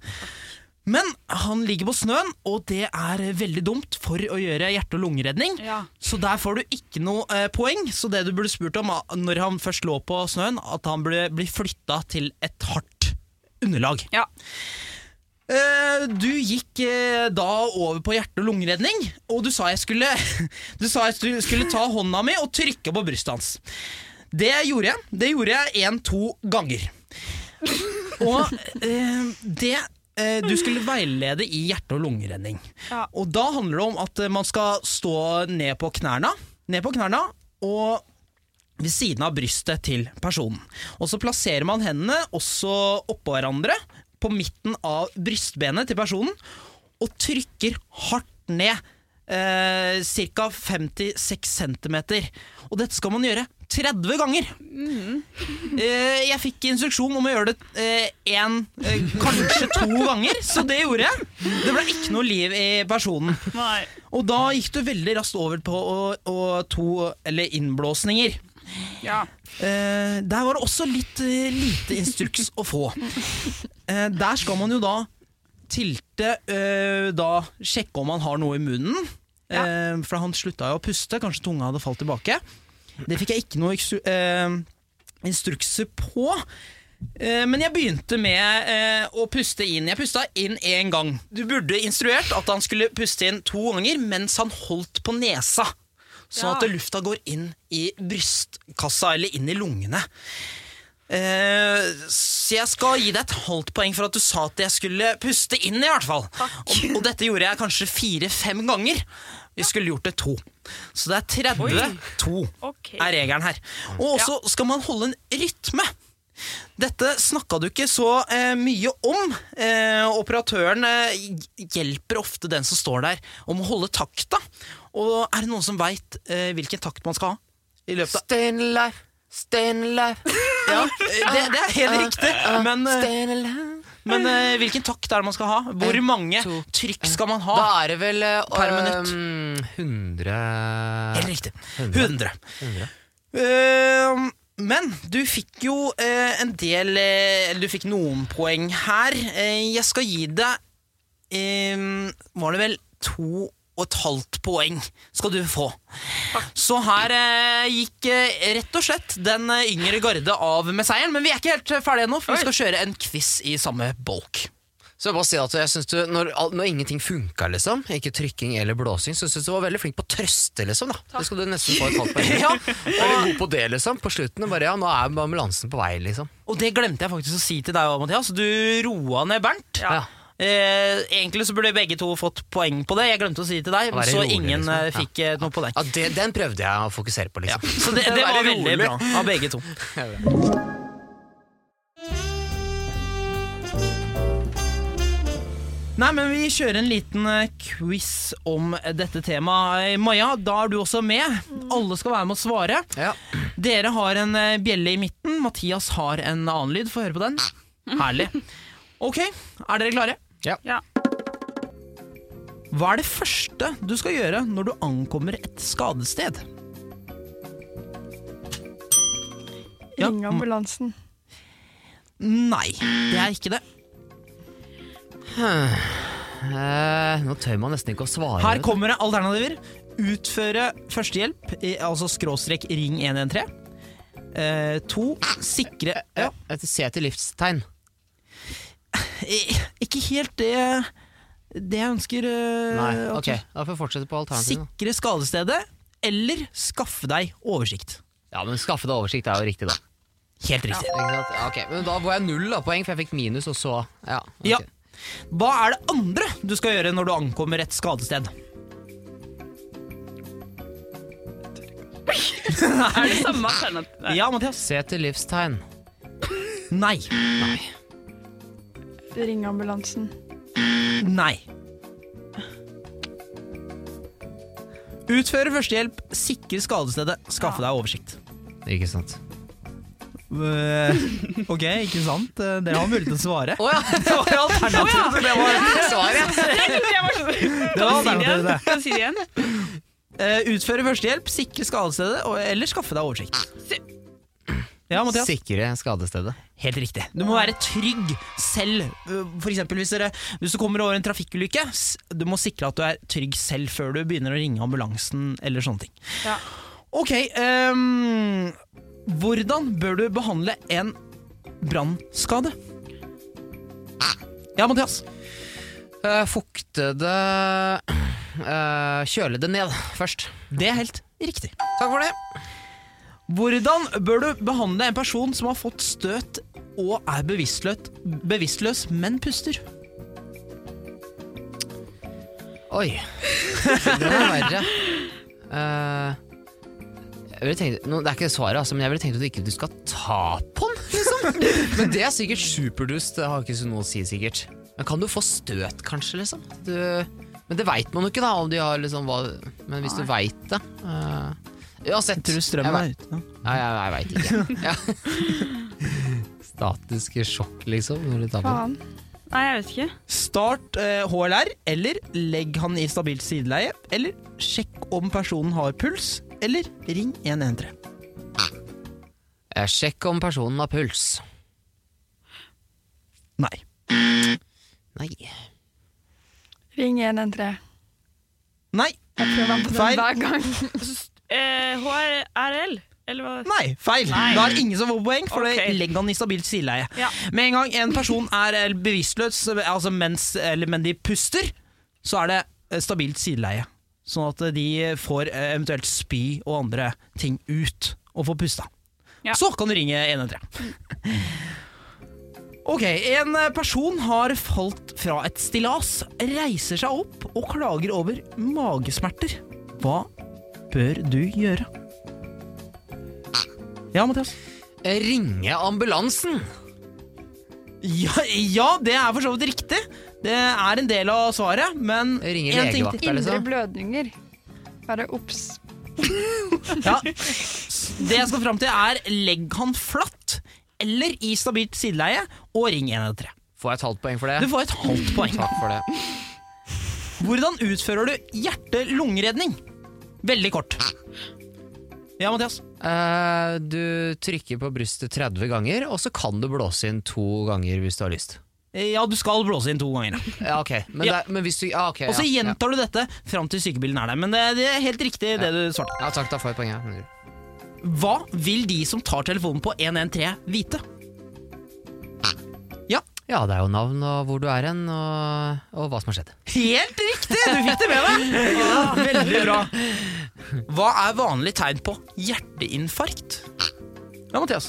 Speaker 6: Men han ligger på snøen, og det er veldig dumt for å gjøre hjerte- og lungeredning.
Speaker 11: Ja.
Speaker 6: Så der får du ikke noe eh, poeng. Så det du burde spurt om ah, når han først lå på snøen, at han burde bli flytta til et hardt underlag.
Speaker 11: Ja.
Speaker 6: Eh, du gikk eh, da over på hjerte- og lungeredning, og du sa jeg skulle Du sa jeg skulle- skulle ta hånda mi og trykke på brystet hans. Det gjorde jeg. Det gjorde jeg én-to ganger. Og eh, det eh, Du skulle veilede i hjerte- og lungeredning.
Speaker 11: Ja.
Speaker 6: Og da handler det om at eh, man skal stå ned på knærne, ned på knærne og ved siden av brystet til personen. Og så plasserer man hendene også oppå hverandre på midten av brystbenet til personen og trykker hardt ned. Eh, Ca. 56 cm. Og dette skal man gjøre 30 ganger. Eh, jeg fikk instruksjon om å gjøre det én, eh, kanskje to ganger, så det gjorde jeg. Det ble ikke noe liv i personen.
Speaker 11: Nei.
Speaker 6: Og da gikk du veldig raskt over på å, å to Eller innblåsninger.
Speaker 11: Ja.
Speaker 6: Eh, der var det også litt eh, lite instruks å få. Eh, der skal man jo da tilte eh, Da sjekke om han har noe i munnen. Eh, for han slutta jo å puste, kanskje tunga hadde falt tilbake. Det fikk jeg ikke noe eksu- eh, instrukser på. Eh, Men jeg begynte med eh, å puste inn. Jeg pusta inn én gang. Du burde instruert at han skulle puste inn to ganger mens han holdt på nesa. Sånn at
Speaker 11: Ja.
Speaker 6: lufta går inn i brystkassa eller inn i lungene. Eh, Så jeg skal gi deg et halvt poeng for at du sa at jeg skulle puste inn, i hvert fall. Og, og dette gjorde jeg kanskje fire-fem ganger. Vi skulle gjort det to. Så det er 32
Speaker 11: Ok.
Speaker 6: er regelen her. Og også skal man holde en rytme. Dette snakka du ikke så eh, mye om. Eh, operatøren eh, hjelper ofte den som står der, om å holde takta. Og er det noen som veit eh, hvilken takt man skal ha? I løpet av
Speaker 5: Stay alive, stay alive,
Speaker 6: ja, eh, det, det er helt riktig, men, eh,
Speaker 5: stay alive.
Speaker 6: men eh, hvilken takt er det man skal ha? Hvor
Speaker 5: En,
Speaker 6: mange
Speaker 5: to,
Speaker 6: trykk skal man
Speaker 5: Da
Speaker 6: ha?
Speaker 5: er det vel eh,
Speaker 6: Per minutt.
Speaker 10: Ehm,
Speaker 5: um, 100
Speaker 6: Helt riktig.
Speaker 5: 100.
Speaker 6: 100. Eh, men du fikk jo eh, en del eh, Eller du fikk noen poeng her. Eh, jeg skal gi deg eh, Var det vel to og et halvt poeng skal du få. Så her eh, gikk eh, rett og slett den eh, yngre garde av med seieren. Men vi er ikke helt eh, ferdige ennå, for vi skal kjøre en quiz i samme bolk.
Speaker 5: Så jeg bare si at jeg synes du, når, al- når ingenting funka, liksom, ikke trykking eller blåsing, så syns du var veldig flink på å trøste, liksom. da. Det skal du nesten få et halvt poeng
Speaker 6: Ja,
Speaker 5: for. Veldig god på det, liksom. På slutten. Bare ja, nå er ambulansen på vei, liksom.
Speaker 6: Og det glemte jeg faktisk å si til deg òg, Mathias. Du roa ned Bernt.
Speaker 5: Ja.
Speaker 6: Eh, egentlig så burde begge to fått poeng på det. Jeg glemte å si det til deg,
Speaker 5: Å være
Speaker 6: så
Speaker 5: rolig,
Speaker 6: ingen
Speaker 5: liksom.
Speaker 6: eh,
Speaker 5: Ja.
Speaker 6: fikk eh, noe på deg.
Speaker 5: Ja, det, Den prøvde jeg å fokusere på,
Speaker 6: Ja.
Speaker 5: liksom.
Speaker 6: Så det, det
Speaker 5: Være
Speaker 6: var veldig
Speaker 5: rolig.
Speaker 6: bra av begge to. Nei, men vi kjører en liten eh, quiz om dette temaet. Maja, da er du også med. Alle skal være med å svare.
Speaker 5: Ja.
Speaker 6: Dere har en eh, bjelle i midten. Mathias har en annen lyd. Få høre på den. Herlig. Ok, er dere klare?
Speaker 5: Ja.
Speaker 11: Ja.
Speaker 6: Hva er det første du skal gjøre når du ankommer et skadested? Ja,
Speaker 7: Ring ambulansen.
Speaker 6: Nei, det er ikke det.
Speaker 5: Eh, nå tør man nesten ikke å svare.
Speaker 6: Her
Speaker 5: vet du.
Speaker 6: kommer det alternativer. Utføre førstehjelp, i- altså skråstrek ring 113. Eh, to, sikre ja,
Speaker 5: Et Se til livstegn.
Speaker 6: i- Ikke helt det, det jeg ønsker. eh,
Speaker 5: Nei,
Speaker 6: at
Speaker 5: ok.
Speaker 6: du-
Speaker 5: Da får vi fortsette på alternativet.
Speaker 6: Sikre skadestedet, eller skaffe deg oversikt.
Speaker 5: Ja, men skaffe deg oversikt er jo riktig, da.
Speaker 6: Helt riktig.
Speaker 5: Ikke sant? Ja, ok. Men da får jeg null da, poeng, for jeg fikk minus, og så Ja. ok.
Speaker 6: Ja. Hva er det andre du skal gjøre når du ankommer et skadested?
Speaker 11: Er det samme alternativ? Nei.
Speaker 6: Ja, Mathias.
Speaker 5: Se etter livstegn.
Speaker 6: Nei.
Speaker 7: Ring ambulansen.
Speaker 6: Nei. Utføre førstehjelp, sikre skadestedet, skaffe deg oversikt.
Speaker 5: Ikke sant.
Speaker 6: Eh, Ok, ikke sant? Eh, Dere har mulighet til å svare. Det var alternativet til det var
Speaker 5: Svaret!
Speaker 6: Det var
Speaker 11: Kan du si det igjen?
Speaker 6: alternativet til det.
Speaker 11: Kan du si det igjen?
Speaker 6: Eh, Utføre førstehjelp, sikre skadestedet, og- eller skaffe deg oversikt. Ja, Mathias.
Speaker 5: Sikre skadestedet.
Speaker 6: Helt riktig. Du må være trygg selv. Uh, For eksempel hvis, dere, hvis du kommer over en trafikkulykke, s- du må sikre at du er trygg selv før du begynner å ringe ambulansen eller sånne ting.
Speaker 11: Ja.
Speaker 6: Ok, ehm, hvordan bør du behandle en brannskade? Ja, Mathias.
Speaker 5: Eh, fukte det eh, Kjøle det ned først.
Speaker 6: Det er helt riktig.
Speaker 5: Takk for det.
Speaker 6: Hvordan bør du behandle en person som har fått støt og er bevisstløs, bevisstløs men puster?
Speaker 5: Oi. Det var verre. Eh, jeg ville tenkt, nå, det er ikke svaret, altså, men jeg ville tenkt at du ikke du skal ta på den, liksom. Men det er sikkert superdust. Det har ikke så noe å si, sikkert. Men kan du få støt, kanskje? liksom? Du, men det veit man jo ikke, da. om de har liksom hva... Men hvis du veit det eh, Uansett.
Speaker 6: Tror du strømmen er ute? nå?
Speaker 5: Nei, jeg, jeg veit ikke. Ja. Statiske sjokk, liksom. Når du tar på den.
Speaker 7: Faen.
Speaker 11: Nei, jeg vet ikke.
Speaker 6: Start eh, HLR, eller legg han i stabilt sideleie, eller sjekk om personen har puls, eller ring 113.
Speaker 5: Eh, Sjekk om personen har puls.
Speaker 6: Nei.
Speaker 5: Nei.
Speaker 7: Ring 113.
Speaker 6: Nei.
Speaker 7: Jeg prøver meg på den
Speaker 6: Feil.
Speaker 7: hver gang.
Speaker 11: Eh, HRL? Eller hva?
Speaker 6: Nei, feil.
Speaker 11: Nei.
Speaker 6: Da er det ingen som får poeng, for
Speaker 11: Ok.
Speaker 6: det legg han i stabilt sideleie.
Speaker 11: Ja.
Speaker 6: Med en gang en person er eh, bevisstløs, altså mens eller, men de puster, så er det eh, stabilt sideleie. Sånn at eh, de får eh, eventuelt spy og andre ting ut, og får pusta.
Speaker 11: Ja.
Speaker 6: Så kan du ringe 113. Ok, En eh, person har falt fra et stillas, reiser seg opp og klager over magesmerter. Hva bør du gjøre? Ja, Mathias?
Speaker 5: Eh, Ringe ambulansen!
Speaker 6: Ja, ja, det er for så vidt riktig. Det er en del av svaret, men
Speaker 5: Ringer
Speaker 6: en ting
Speaker 5: legevakta,
Speaker 6: til.
Speaker 5: liksom?
Speaker 7: Indre blødninger. Bare obs.
Speaker 6: Ja. Det jeg skal fram til, er legg han flatt eller i stabilt sideleie og ring 113.
Speaker 5: Får jeg et halvt poeng for
Speaker 6: Du
Speaker 5: det?
Speaker 6: får et halvt poeng.
Speaker 5: Takk for det.
Speaker 6: Hvordan utfører du hjerte-lungeredning? Veldig kort. Ja, Mathias.
Speaker 5: Eh, du trykker på brystet 30 ganger, og så kan du blåse inn to ganger hvis du har lyst.
Speaker 6: Ja, du skal blåse inn to ganger.
Speaker 5: Ja, ok. Men,
Speaker 6: Ja.
Speaker 5: Det, er- men hvis du ja, ok,
Speaker 6: Og så
Speaker 5: ja, ja.
Speaker 6: gjentar du dette fram til sykebilen er der. Men det det er helt riktig, det du svarte.
Speaker 5: ja, takk, da får jeg poeng. Ja.
Speaker 6: Hva vil de som tar telefonen på 113 vite?
Speaker 5: ja, det er jo navn og hvor du er hen, og, og hva som har skjedd.
Speaker 6: Helt riktig! Du fikk det med deg. Ah, veldig bra. Hva er vanlig tegn på hjerteinfarkt? Ja, Mathias.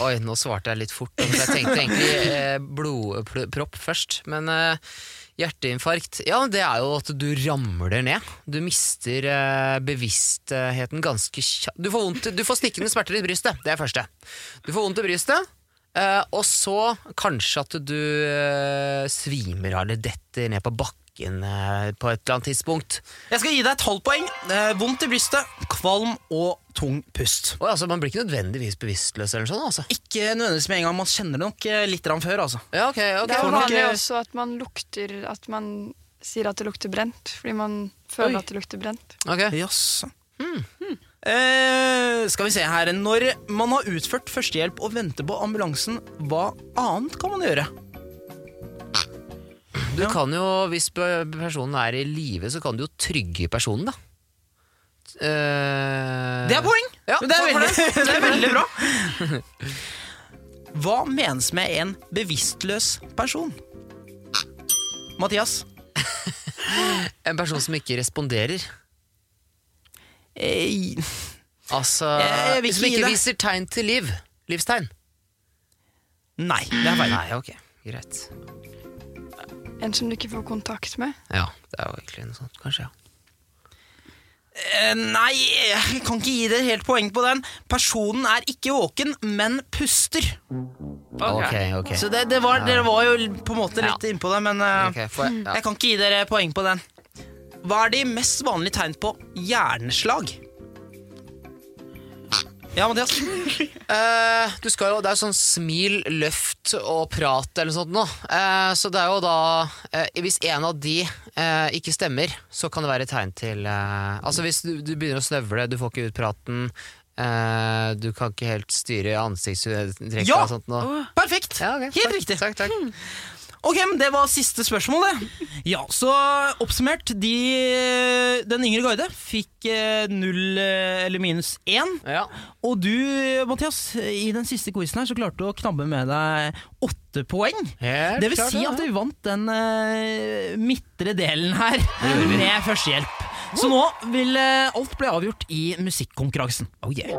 Speaker 5: Oi, nå svarte jeg litt fort. altså, Jeg tenkte egentlig eh, blodpropp først, men eh, hjerteinfarkt Ja, det er jo at du ramler ned. Du mister eh, bevisstheten ganske kjapt. Du, får vondt- du får stikkende smerter i brystet. Det er første. Du får vondt i brystet. eh, og så kanskje at du eh, svimer av eller detter ned på bakken eh, på et eller annet tidspunkt.
Speaker 6: Jeg skal gi deg et halvt poeng. Eh, vondt i brystet, kvalm og tung pust.
Speaker 5: Og, altså, man blir ikke nødvendigvis bevisstløs eller noe sånt. Altså.
Speaker 6: Ikke nødvendigvis med en gang. Man kjenner det nok eh, litt grann før. altså.
Speaker 5: Ja, ok, ok.
Speaker 7: Det er jo
Speaker 6: nok,
Speaker 7: vanlig
Speaker 6: eh,
Speaker 7: også at man lukter At man sier at det lukter brent, fordi man føler at det lukter brent.
Speaker 5: Ok.
Speaker 6: Jaså. Hmm. Eh, skal vi se her Når man har utført førstehjelp og venter på ambulansen, hva annet kan man gjøre?
Speaker 5: Du kan jo, hvis pe- personen er i live, så kan du jo trygge personen, da. Eh,
Speaker 6: Det er poeng!
Speaker 5: Ja,
Speaker 6: Men det, er
Speaker 5: takk for
Speaker 6: veldig, det er veldig bra. Hva menes med en bevisstløs person? Mathias?
Speaker 5: En person som ikke responderer.
Speaker 6: Eh,
Speaker 5: Altså
Speaker 6: Jeg vil ikke
Speaker 5: Som
Speaker 6: gi
Speaker 5: ikke
Speaker 6: deg.
Speaker 5: viser tegn til liv. Livstegn.
Speaker 6: nei, det er feil.
Speaker 5: Nei, ok, greit.
Speaker 7: En som du ikke får kontakt med.
Speaker 5: Ja, det er jo egentlig noe sånt, kanskje. ja
Speaker 6: Eh, Nei, jeg kan ikke gi dere helt poeng på den. Personen er ikke våken, men puster.
Speaker 5: Ok, ok.
Speaker 6: Så det, det var, dere var jo på en måte litt
Speaker 5: Ja.
Speaker 6: innpå det, men eh,
Speaker 5: Ok, får jeg- ja.
Speaker 6: jeg kan ikke gi dere poeng på den. Hva er de mest vanlige tegn på hjerneslag? Ja, Mathias.
Speaker 5: Eh, du skal jo, det er jo sånn smil, løft og prat eller noe sånt nå. Eh, så det er jo da eh, Hvis en av de eh, ikke stemmer, så kan det være et tegn til eh, Altså hvis du, du begynner å snøvle, du får ikke ut praten, eh, du kan ikke helt styre ansiktstrekk
Speaker 6: Ja!
Speaker 5: og sånt sånn nå.
Speaker 6: Perfekt.
Speaker 5: Ja, ok,
Speaker 6: Helt
Speaker 5: takk,
Speaker 6: riktig. Hmm.
Speaker 5: Takk, takk.
Speaker 6: Ok, men Det var siste spørsmål, det. Ja, Så oppsummert, de, den yngre guide fikk eh, null eh, eller minus én.
Speaker 5: Ja.
Speaker 6: Og du, Mathias, i den siste quizen her så klarte du å knabbe med deg åtte poeng.
Speaker 5: Helt
Speaker 6: Det vil
Speaker 5: klart,
Speaker 6: si
Speaker 5: ja.
Speaker 6: at du vant den eh, midtre delen her med førstehjelp. Så nå vil eh, alt bli avgjort i musikkonkurransen. Oh yeah.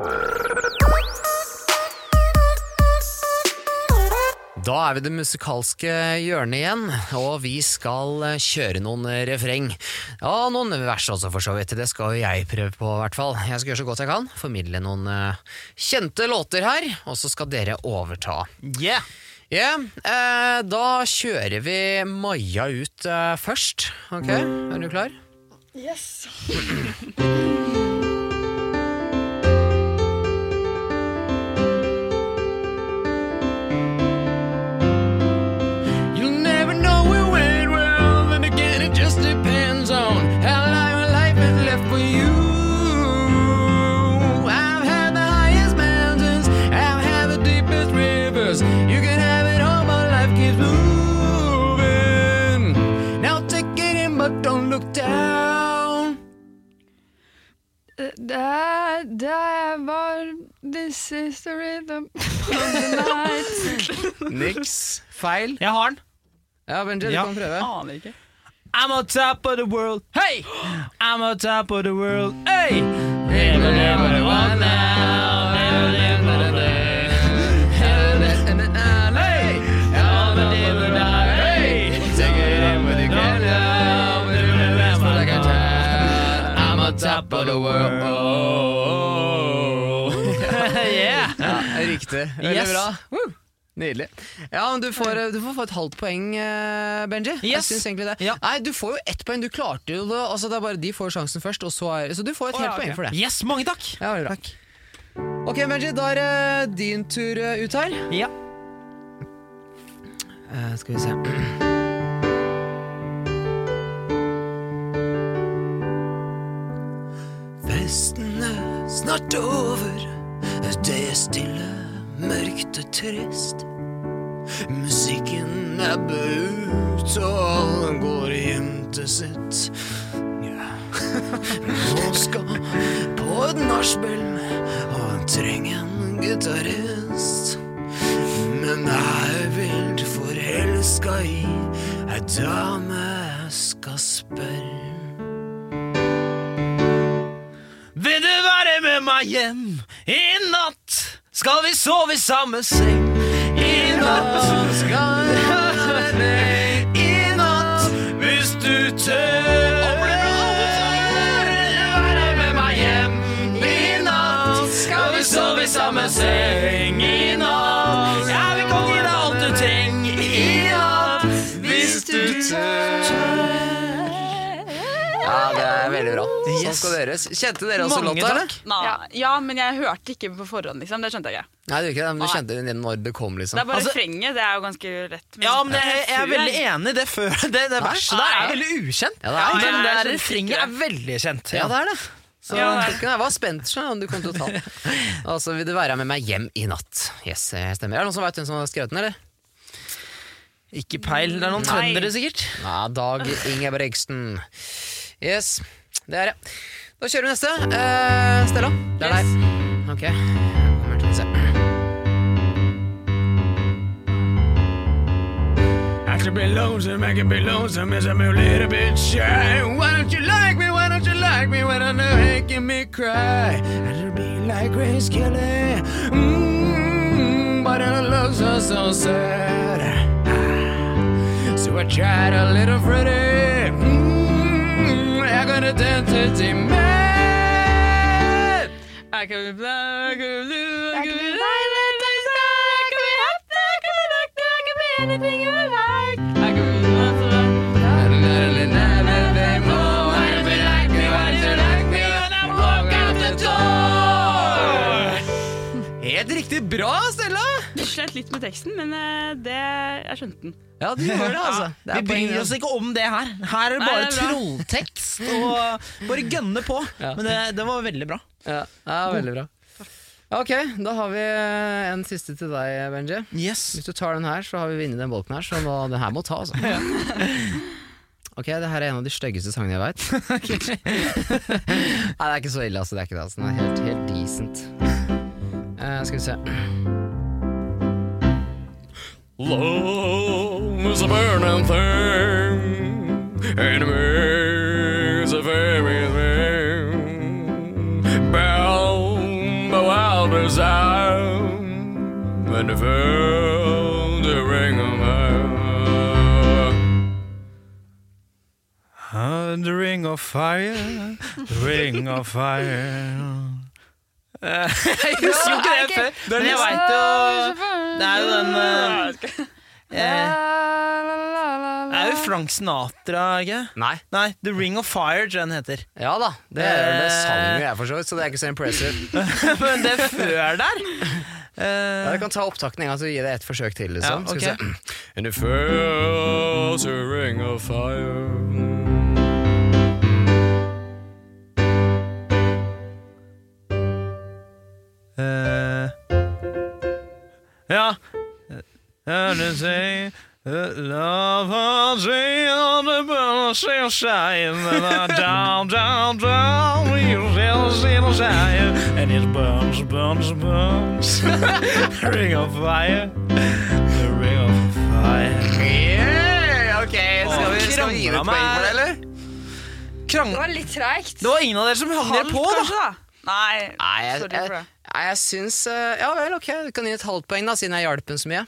Speaker 5: Da er vi det musikalske hjørnet igjen, og vi skal eh, kjøre noen eh, refreng. Ja, noen vers også, for så vidt. Det skal jo jeg prøve på, i hvert fall. Jeg skal gjøre så godt jeg kan. Formidle noen eh, kjente låter her, og så skal dere overta.
Speaker 6: Yeah.
Speaker 5: Ja, eh, da kjører vi Maja ut eh, først. Ok, er du klar? You'll never know it went well, and again, it just depends on how li- life is left for you. I've had the highest mountains, I've had the deepest rivers. You can have it all, but life keeps moving. Now take it in, but don't look down.
Speaker 7: There, there var This is the rhythm of the night.
Speaker 5: Niks feil.
Speaker 6: Jeg har den.
Speaker 5: Ja, Benji,
Speaker 6: Ja.
Speaker 5: kan prøve.
Speaker 11: Aner ikke.
Speaker 6: I'm on top of the world, hey! I'm on top of the world, hey! Never, never want now, never, never, never. Hey! I'm on top of the world, hey! Take it in with the good love, never, never, never, like a child. I'm on top of the world. yeah!
Speaker 5: Ja, riktig. Veldig
Speaker 6: Yes.
Speaker 5: bra. Woo. Nydelig. Ja, men du får, du får få et halvt poeng, eh, Benji. Jeg
Speaker 6: Yes.
Speaker 5: synes egentlig det.
Speaker 6: Ja.
Speaker 5: Nei, du får jo ett poeng. Du klarte jo det. Altså, det er bare de får sjansen først, og så er Så du får et helt poeng for det.
Speaker 6: Yes, mange takk!
Speaker 5: Ja, veldig bra. Ok, Benji, da er det din tur eh, ut her.
Speaker 6: Ja.
Speaker 5: Eh, skal vi se Festen er snart over Det er stille, mørkt og trist Musikken er baut Og alle går hjem til sitt Ja. Nå skal på et nachspiel Og han trenger en gitarrist men jeg vil forelska i ei dame jeg skal spørre.
Speaker 6: Vil du være med meg hjem i natt? Skal vi sove i samme seng i natt? Skal jeg være med deg i natt hvis du tør? Være med meg hjem i natt? Skal vi sove i samme seng i natt? Jeg vil kan gi deg alt du trenger i natt hvis du tør.
Speaker 5: Ja, det er veldig bra. Sånn
Speaker 6: Yes.
Speaker 5: skal det gjøres. Kjente dere også
Speaker 6: Mange
Speaker 5: låta, eller?
Speaker 6: takk.
Speaker 11: Nei, ja. men jeg hørte ikke på forhånd, liksom. Det skjønte jeg ikke.
Speaker 5: Nei, du gjorde ikke det, men du
Speaker 11: Nei.
Speaker 5: kjente den igjen når det kom, liksom.
Speaker 11: Det er bare
Speaker 6: Altså-
Speaker 11: refrenget. Det er jo ganske rett.
Speaker 6: Ja, men jeg, jeg er veldig enig i det før. Det, det verste der er
Speaker 11: Nei.
Speaker 6: veldig ukjent.
Speaker 5: Ja, det er
Speaker 11: det.
Speaker 6: men det
Speaker 11: Jeg
Speaker 6: der
Speaker 11: skjønte
Speaker 6: refrenget
Speaker 11: ikke
Speaker 6: er veldig kjent.
Speaker 5: Ja, det er det. Så
Speaker 11: Ja, det er det.
Speaker 5: jeg var spent sånn, om du kom til å ta den. Altså, vil du være med meg hjem i natt? Yes, jeg stemmer. Er det noen som vet hvem som har skrevet den, eller?
Speaker 6: Ikke peil. Det er noen trøndere, sikkert.
Speaker 5: Ja, Dag Ingebrigtsen. Yes, det er det. Da kjører vi neste. Eh, Stella, det er
Speaker 11: Yes.
Speaker 5: deg. Ok. Kommer til å se.
Speaker 2: I could be lonesome, I could be lonesome, yes, I'm a little bit shy. Why don't you like me? Why don't you like me when I know making me cry? I should be like Grace Kelly, mm, but her love's so, so sad. Ah, So I Mm, tried a little Freddie, mm, I got a dentity man.
Speaker 8: fly, can we fly, can we do,
Speaker 11: Back
Speaker 8: can
Speaker 11: in
Speaker 8: we
Speaker 11: the
Speaker 8: violent and star, can we have that, can we like that, can we anything you like. I can be lost and lost. Why don't you like me, why don't you like me when I walk out the door?
Speaker 6: Helt riktig bra, Stella!
Speaker 8: Jeg slet litt med teksten, men eh, det, jeg skjønte den.
Speaker 5: Ja, du gjør det, altså. Det er
Speaker 6: Vi bryr
Speaker 5: poenget.
Speaker 6: oss ikke om det her. Her er det
Speaker 8: Nei,
Speaker 6: bare
Speaker 8: det er bra.
Speaker 6: trolltekst og bare gønne på. Men det, det var veldig bra.
Speaker 5: Ja, ja, veldig bra. Ok, da har vi eh, en siste til deg, Benji.
Speaker 6: Yes.
Speaker 5: Hvis du tar den her, så har vi vunnet den bolken her, så nå, den her må ta, altså. Ok, det her er en av de styggeste sangene jeg veit. Nei, det er ikke så ille, altså. Det er ikke det, altså. Den er helt, helt decent. Eh, skal vi se.
Speaker 2: Love is a burning thing, and it is a very thing. Bound by wild desire, and it felt the ring of fire. Ah, the ring of fire, the ring of fire.
Speaker 6: Jeg husker jo ikke det før, men jeg veit jo Det er jo den eh, eh, Det er jo Frank Sinatra, er det ikke? det?
Speaker 5: Nei.
Speaker 6: Nei, The Ring of Fire, tror jeg den heter.
Speaker 5: Ja da, det, det sang jo jeg for så vidt, så det er ikke så impressive.
Speaker 6: Men det før der Eh,
Speaker 5: Ja, du kan ta opptakten en gang, så gi det et forsøk til, liksom. Skal vi
Speaker 6: Ja, ok.
Speaker 5: se.
Speaker 2: And it fills a ring of fire.
Speaker 6: Eh, Ja And they say that Love has been on the bus and shine And I down, down, down You still see the shine And it burns, burns, burns Ring of fire The ring of fire
Speaker 5: Yeah, ok, skal vi, skal vi gi det
Speaker 6: Krangla
Speaker 5: et poeng for det, eller?
Speaker 7: Det var litt treigt.
Speaker 6: Det var ingen av dere som hang dere på da
Speaker 8: Kanskje, da? Nei,
Speaker 5: Nei, jeg,
Speaker 8: sorry
Speaker 5: jeg,
Speaker 8: for det.
Speaker 5: nei, jeg syns eh, Ja vel, ok, du kan gi et halvt poeng, da, siden jeg hjalp henne så mye.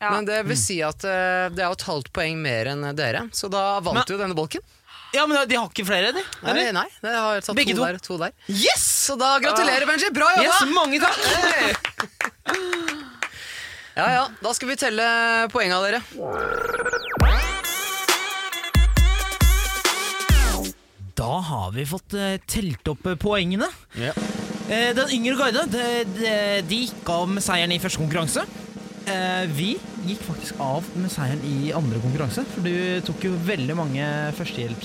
Speaker 8: Ja.
Speaker 5: Men det vil si at eh, det er jo et halvt poeng mer enn dere, så da vant
Speaker 6: Men-
Speaker 5: du denne bolken.
Speaker 6: Ja, men de har ikke flere de
Speaker 5: Nei, nei, det har tatt
Speaker 6: Begge
Speaker 5: to,
Speaker 6: to.
Speaker 5: der. To der.
Speaker 6: Yes!
Speaker 5: Så da gratulerer, Benji! Bra jobba!
Speaker 6: Yes, mange takk
Speaker 5: Ja, ja, da skal vi telle poenga dere.
Speaker 6: Da har vi fått eh, telt opp eh, poengene.
Speaker 5: Ja.
Speaker 6: Eh, den yngre guide de, de, de gikk av med seieren i første konkurranse. Eh, vi gikk faktisk av med seieren i andre konkurranse, for du tok jo veldig mange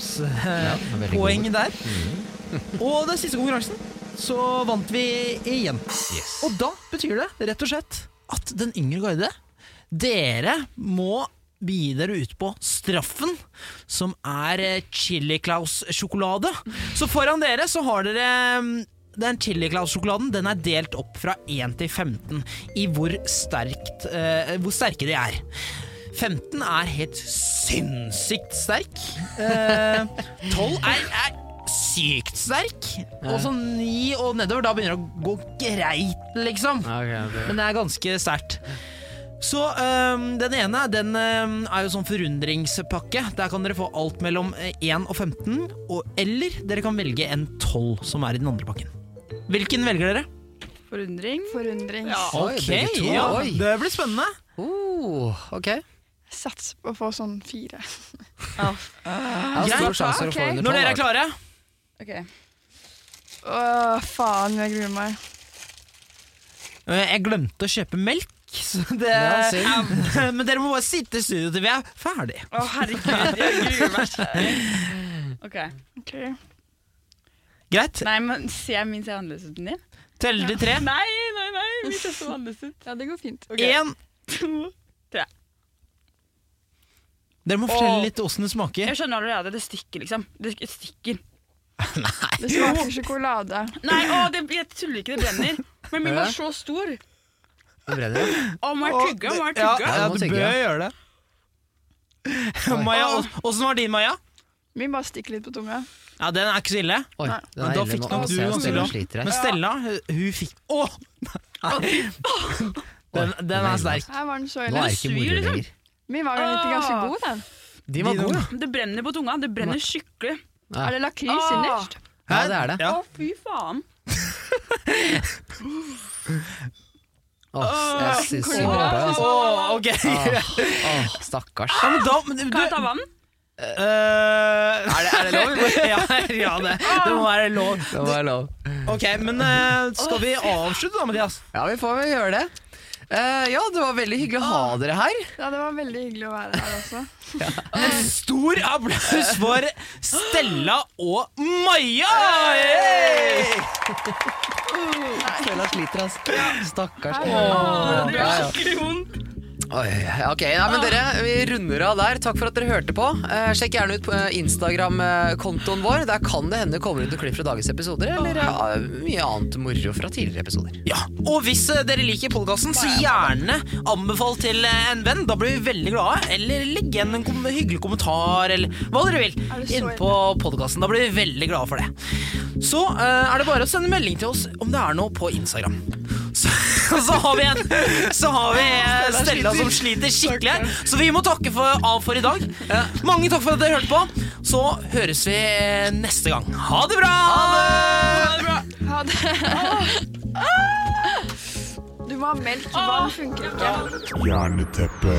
Speaker 5: veldig Mm.
Speaker 6: førstehjelpspoeng der. og den siste konkurransen så vant vi igjen. Og da betyr det rett og slett at den yngre guide, dere må begi dere ut på straffen, som er eh, Chili Claus-sjokolade. Så foran dere så har dere mm, den Chili Claus-sjokoladen den er delt opp fra 1 til 15 i hvor, sterkt, eh, hvor sterke de er. 15 er helt sinnssykt sterk. Eh, 12 er, er sykt sterk. Og så 9 og nedover, da begynner det å gå greit, liksom. Men det er ganske sterkt. Så øhm, den ene den øhm, er jo sånn forundringspakke. Der kan dere få alt mellom eh, 1 og 15, og, eller dere kan velge en 12, som er i den andre pakken. Hvilken velger dere?
Speaker 8: Forundring.
Speaker 7: Forundring.
Speaker 5: Oi, begge to.
Speaker 6: ja,
Speaker 5: Oi.
Speaker 6: Det blir spennende.
Speaker 5: Oh, ok.
Speaker 7: Sats på å få sånn fire.
Speaker 5: Jeg har stor sjanse for å få
Speaker 7: ok.
Speaker 5: under
Speaker 6: Når dere er klare.
Speaker 8: Ok.
Speaker 7: Å, faen, jeg gruer meg.
Speaker 6: Eh, Jeg glemte å kjøpe melk, så det,
Speaker 5: Ja, synd.
Speaker 6: men dere må bare sitte i studio til vi er ferdig.
Speaker 8: Å, herregud, jeg gruer meg. Ok.
Speaker 7: Ok.
Speaker 6: Greit.
Speaker 8: Nei, men Ser jeg min ser annerledes ut enn din?
Speaker 6: Teller til tre.
Speaker 8: Nei, nei, nei, min ser så annerledes ut.
Speaker 7: Ja, det går fint.
Speaker 6: Én.
Speaker 8: To.
Speaker 6: Dere må
Speaker 8: Åh.
Speaker 6: fortelle litt åssen det smaker.
Speaker 8: Jeg skjønner allerede, det stikker liksom. Det stikker.
Speaker 7: Det smaker sjokolade.
Speaker 8: Nei, å, det, jeg tuller ikke, det brenner. Men min var så stor.
Speaker 5: Det brenner, ja.
Speaker 8: Å, må jeg tygge, må jeg
Speaker 6: Ja,
Speaker 5: Ja,
Speaker 8: tygge?
Speaker 6: ja,
Speaker 5: du må
Speaker 6: du
Speaker 5: tygge,
Speaker 6: bør
Speaker 5: ja.
Speaker 6: gjøre det. Maja, ås- åssen var din, Maja?
Speaker 7: Min bare stikker litt på tunga.
Speaker 6: Ja, Den er ikke så ille.
Speaker 5: Oi,
Speaker 7: Nei,
Speaker 6: men
Speaker 5: den er
Speaker 6: da
Speaker 5: ille.
Speaker 6: fikk
Speaker 5: Nå
Speaker 6: nok du
Speaker 5: ser jeg
Speaker 6: ganske
Speaker 5: at Stella
Speaker 6: bra.
Speaker 5: sliter
Speaker 6: Men
Speaker 5: her.
Speaker 6: Stella, hun, hun fikk Å! Nei. Den, den er sterk.
Speaker 7: Her var den
Speaker 5: Nå
Speaker 7: så
Speaker 5: er
Speaker 7: ille.
Speaker 5: ikke
Speaker 8: Syr,
Speaker 5: moro
Speaker 8: liksom.
Speaker 5: lenger.
Speaker 7: Min var jo egentlig ganske
Speaker 8: Åh.
Speaker 7: god, den.
Speaker 5: De var gode, ja.
Speaker 8: Det brenner på tunga. Det brenner skikkelig.
Speaker 5: Ja.
Speaker 7: Ah. Er det lakris
Speaker 8: Åh.
Speaker 7: innerst?
Speaker 5: Ja, det er det.
Speaker 8: Å, fy faen.
Speaker 5: Åh, jeg synes synd på deg. altså.
Speaker 6: Åh, ok.
Speaker 5: Ah. Åh, åh, stakkars.
Speaker 6: Ja, men da, men, du,
Speaker 8: Kan jeg ta vann?
Speaker 6: er, det, er det lov? ja, ja det, det må være lov.
Speaker 5: Det må være lov.
Speaker 6: Ok, men eh, skal vi avslutte da, Mathias?
Speaker 5: Ja, vi får vel gjøre det. Eh, ja, det var veldig hyggelig å ha dere her.
Speaker 7: Ja, det var veldig hyggelig å være her også.
Speaker 6: En stor applaus for Stella og Maja!
Speaker 5: Stella sliter, altså. Stakkars.
Speaker 8: Åh, det gjør
Speaker 5: Ja, ja.
Speaker 8: skikkelig vondt.
Speaker 5: Oi, ok, nei, men dere, Vi runder av der. Takk for at dere hørte på. Eh, sjekk gjerne ut på eh, Instagram-kontoen vår. Der kan det hende kommer ut noen klipp fra dagens episoder, eller eh, mye annet moro fra tidligere episoder.
Speaker 6: Ja, og hvis eh, dere liker podkasten, så gjerne anbefal til eh, en venn. Da blir vi veldig glade. Eller legg igjen en kom hyggelig kommentar, eller hva dere vil, inne på podkasten. Da blir vi veldig glade for det. Så eh, er det bare å sende melding til oss om det er noe på Instagram. Så, så har vi en Så har vi eh, Stella som sliter skikkelig her. Så vi må takke for, av for i dag. Eh, Mange takk for at dere hørte på. Så høres vi eh, neste gang. Ha det bra! Ha det bra!
Speaker 7: Ha det. Du må ha melk. Vann funker ikke.
Speaker 2: Hjerneteppe.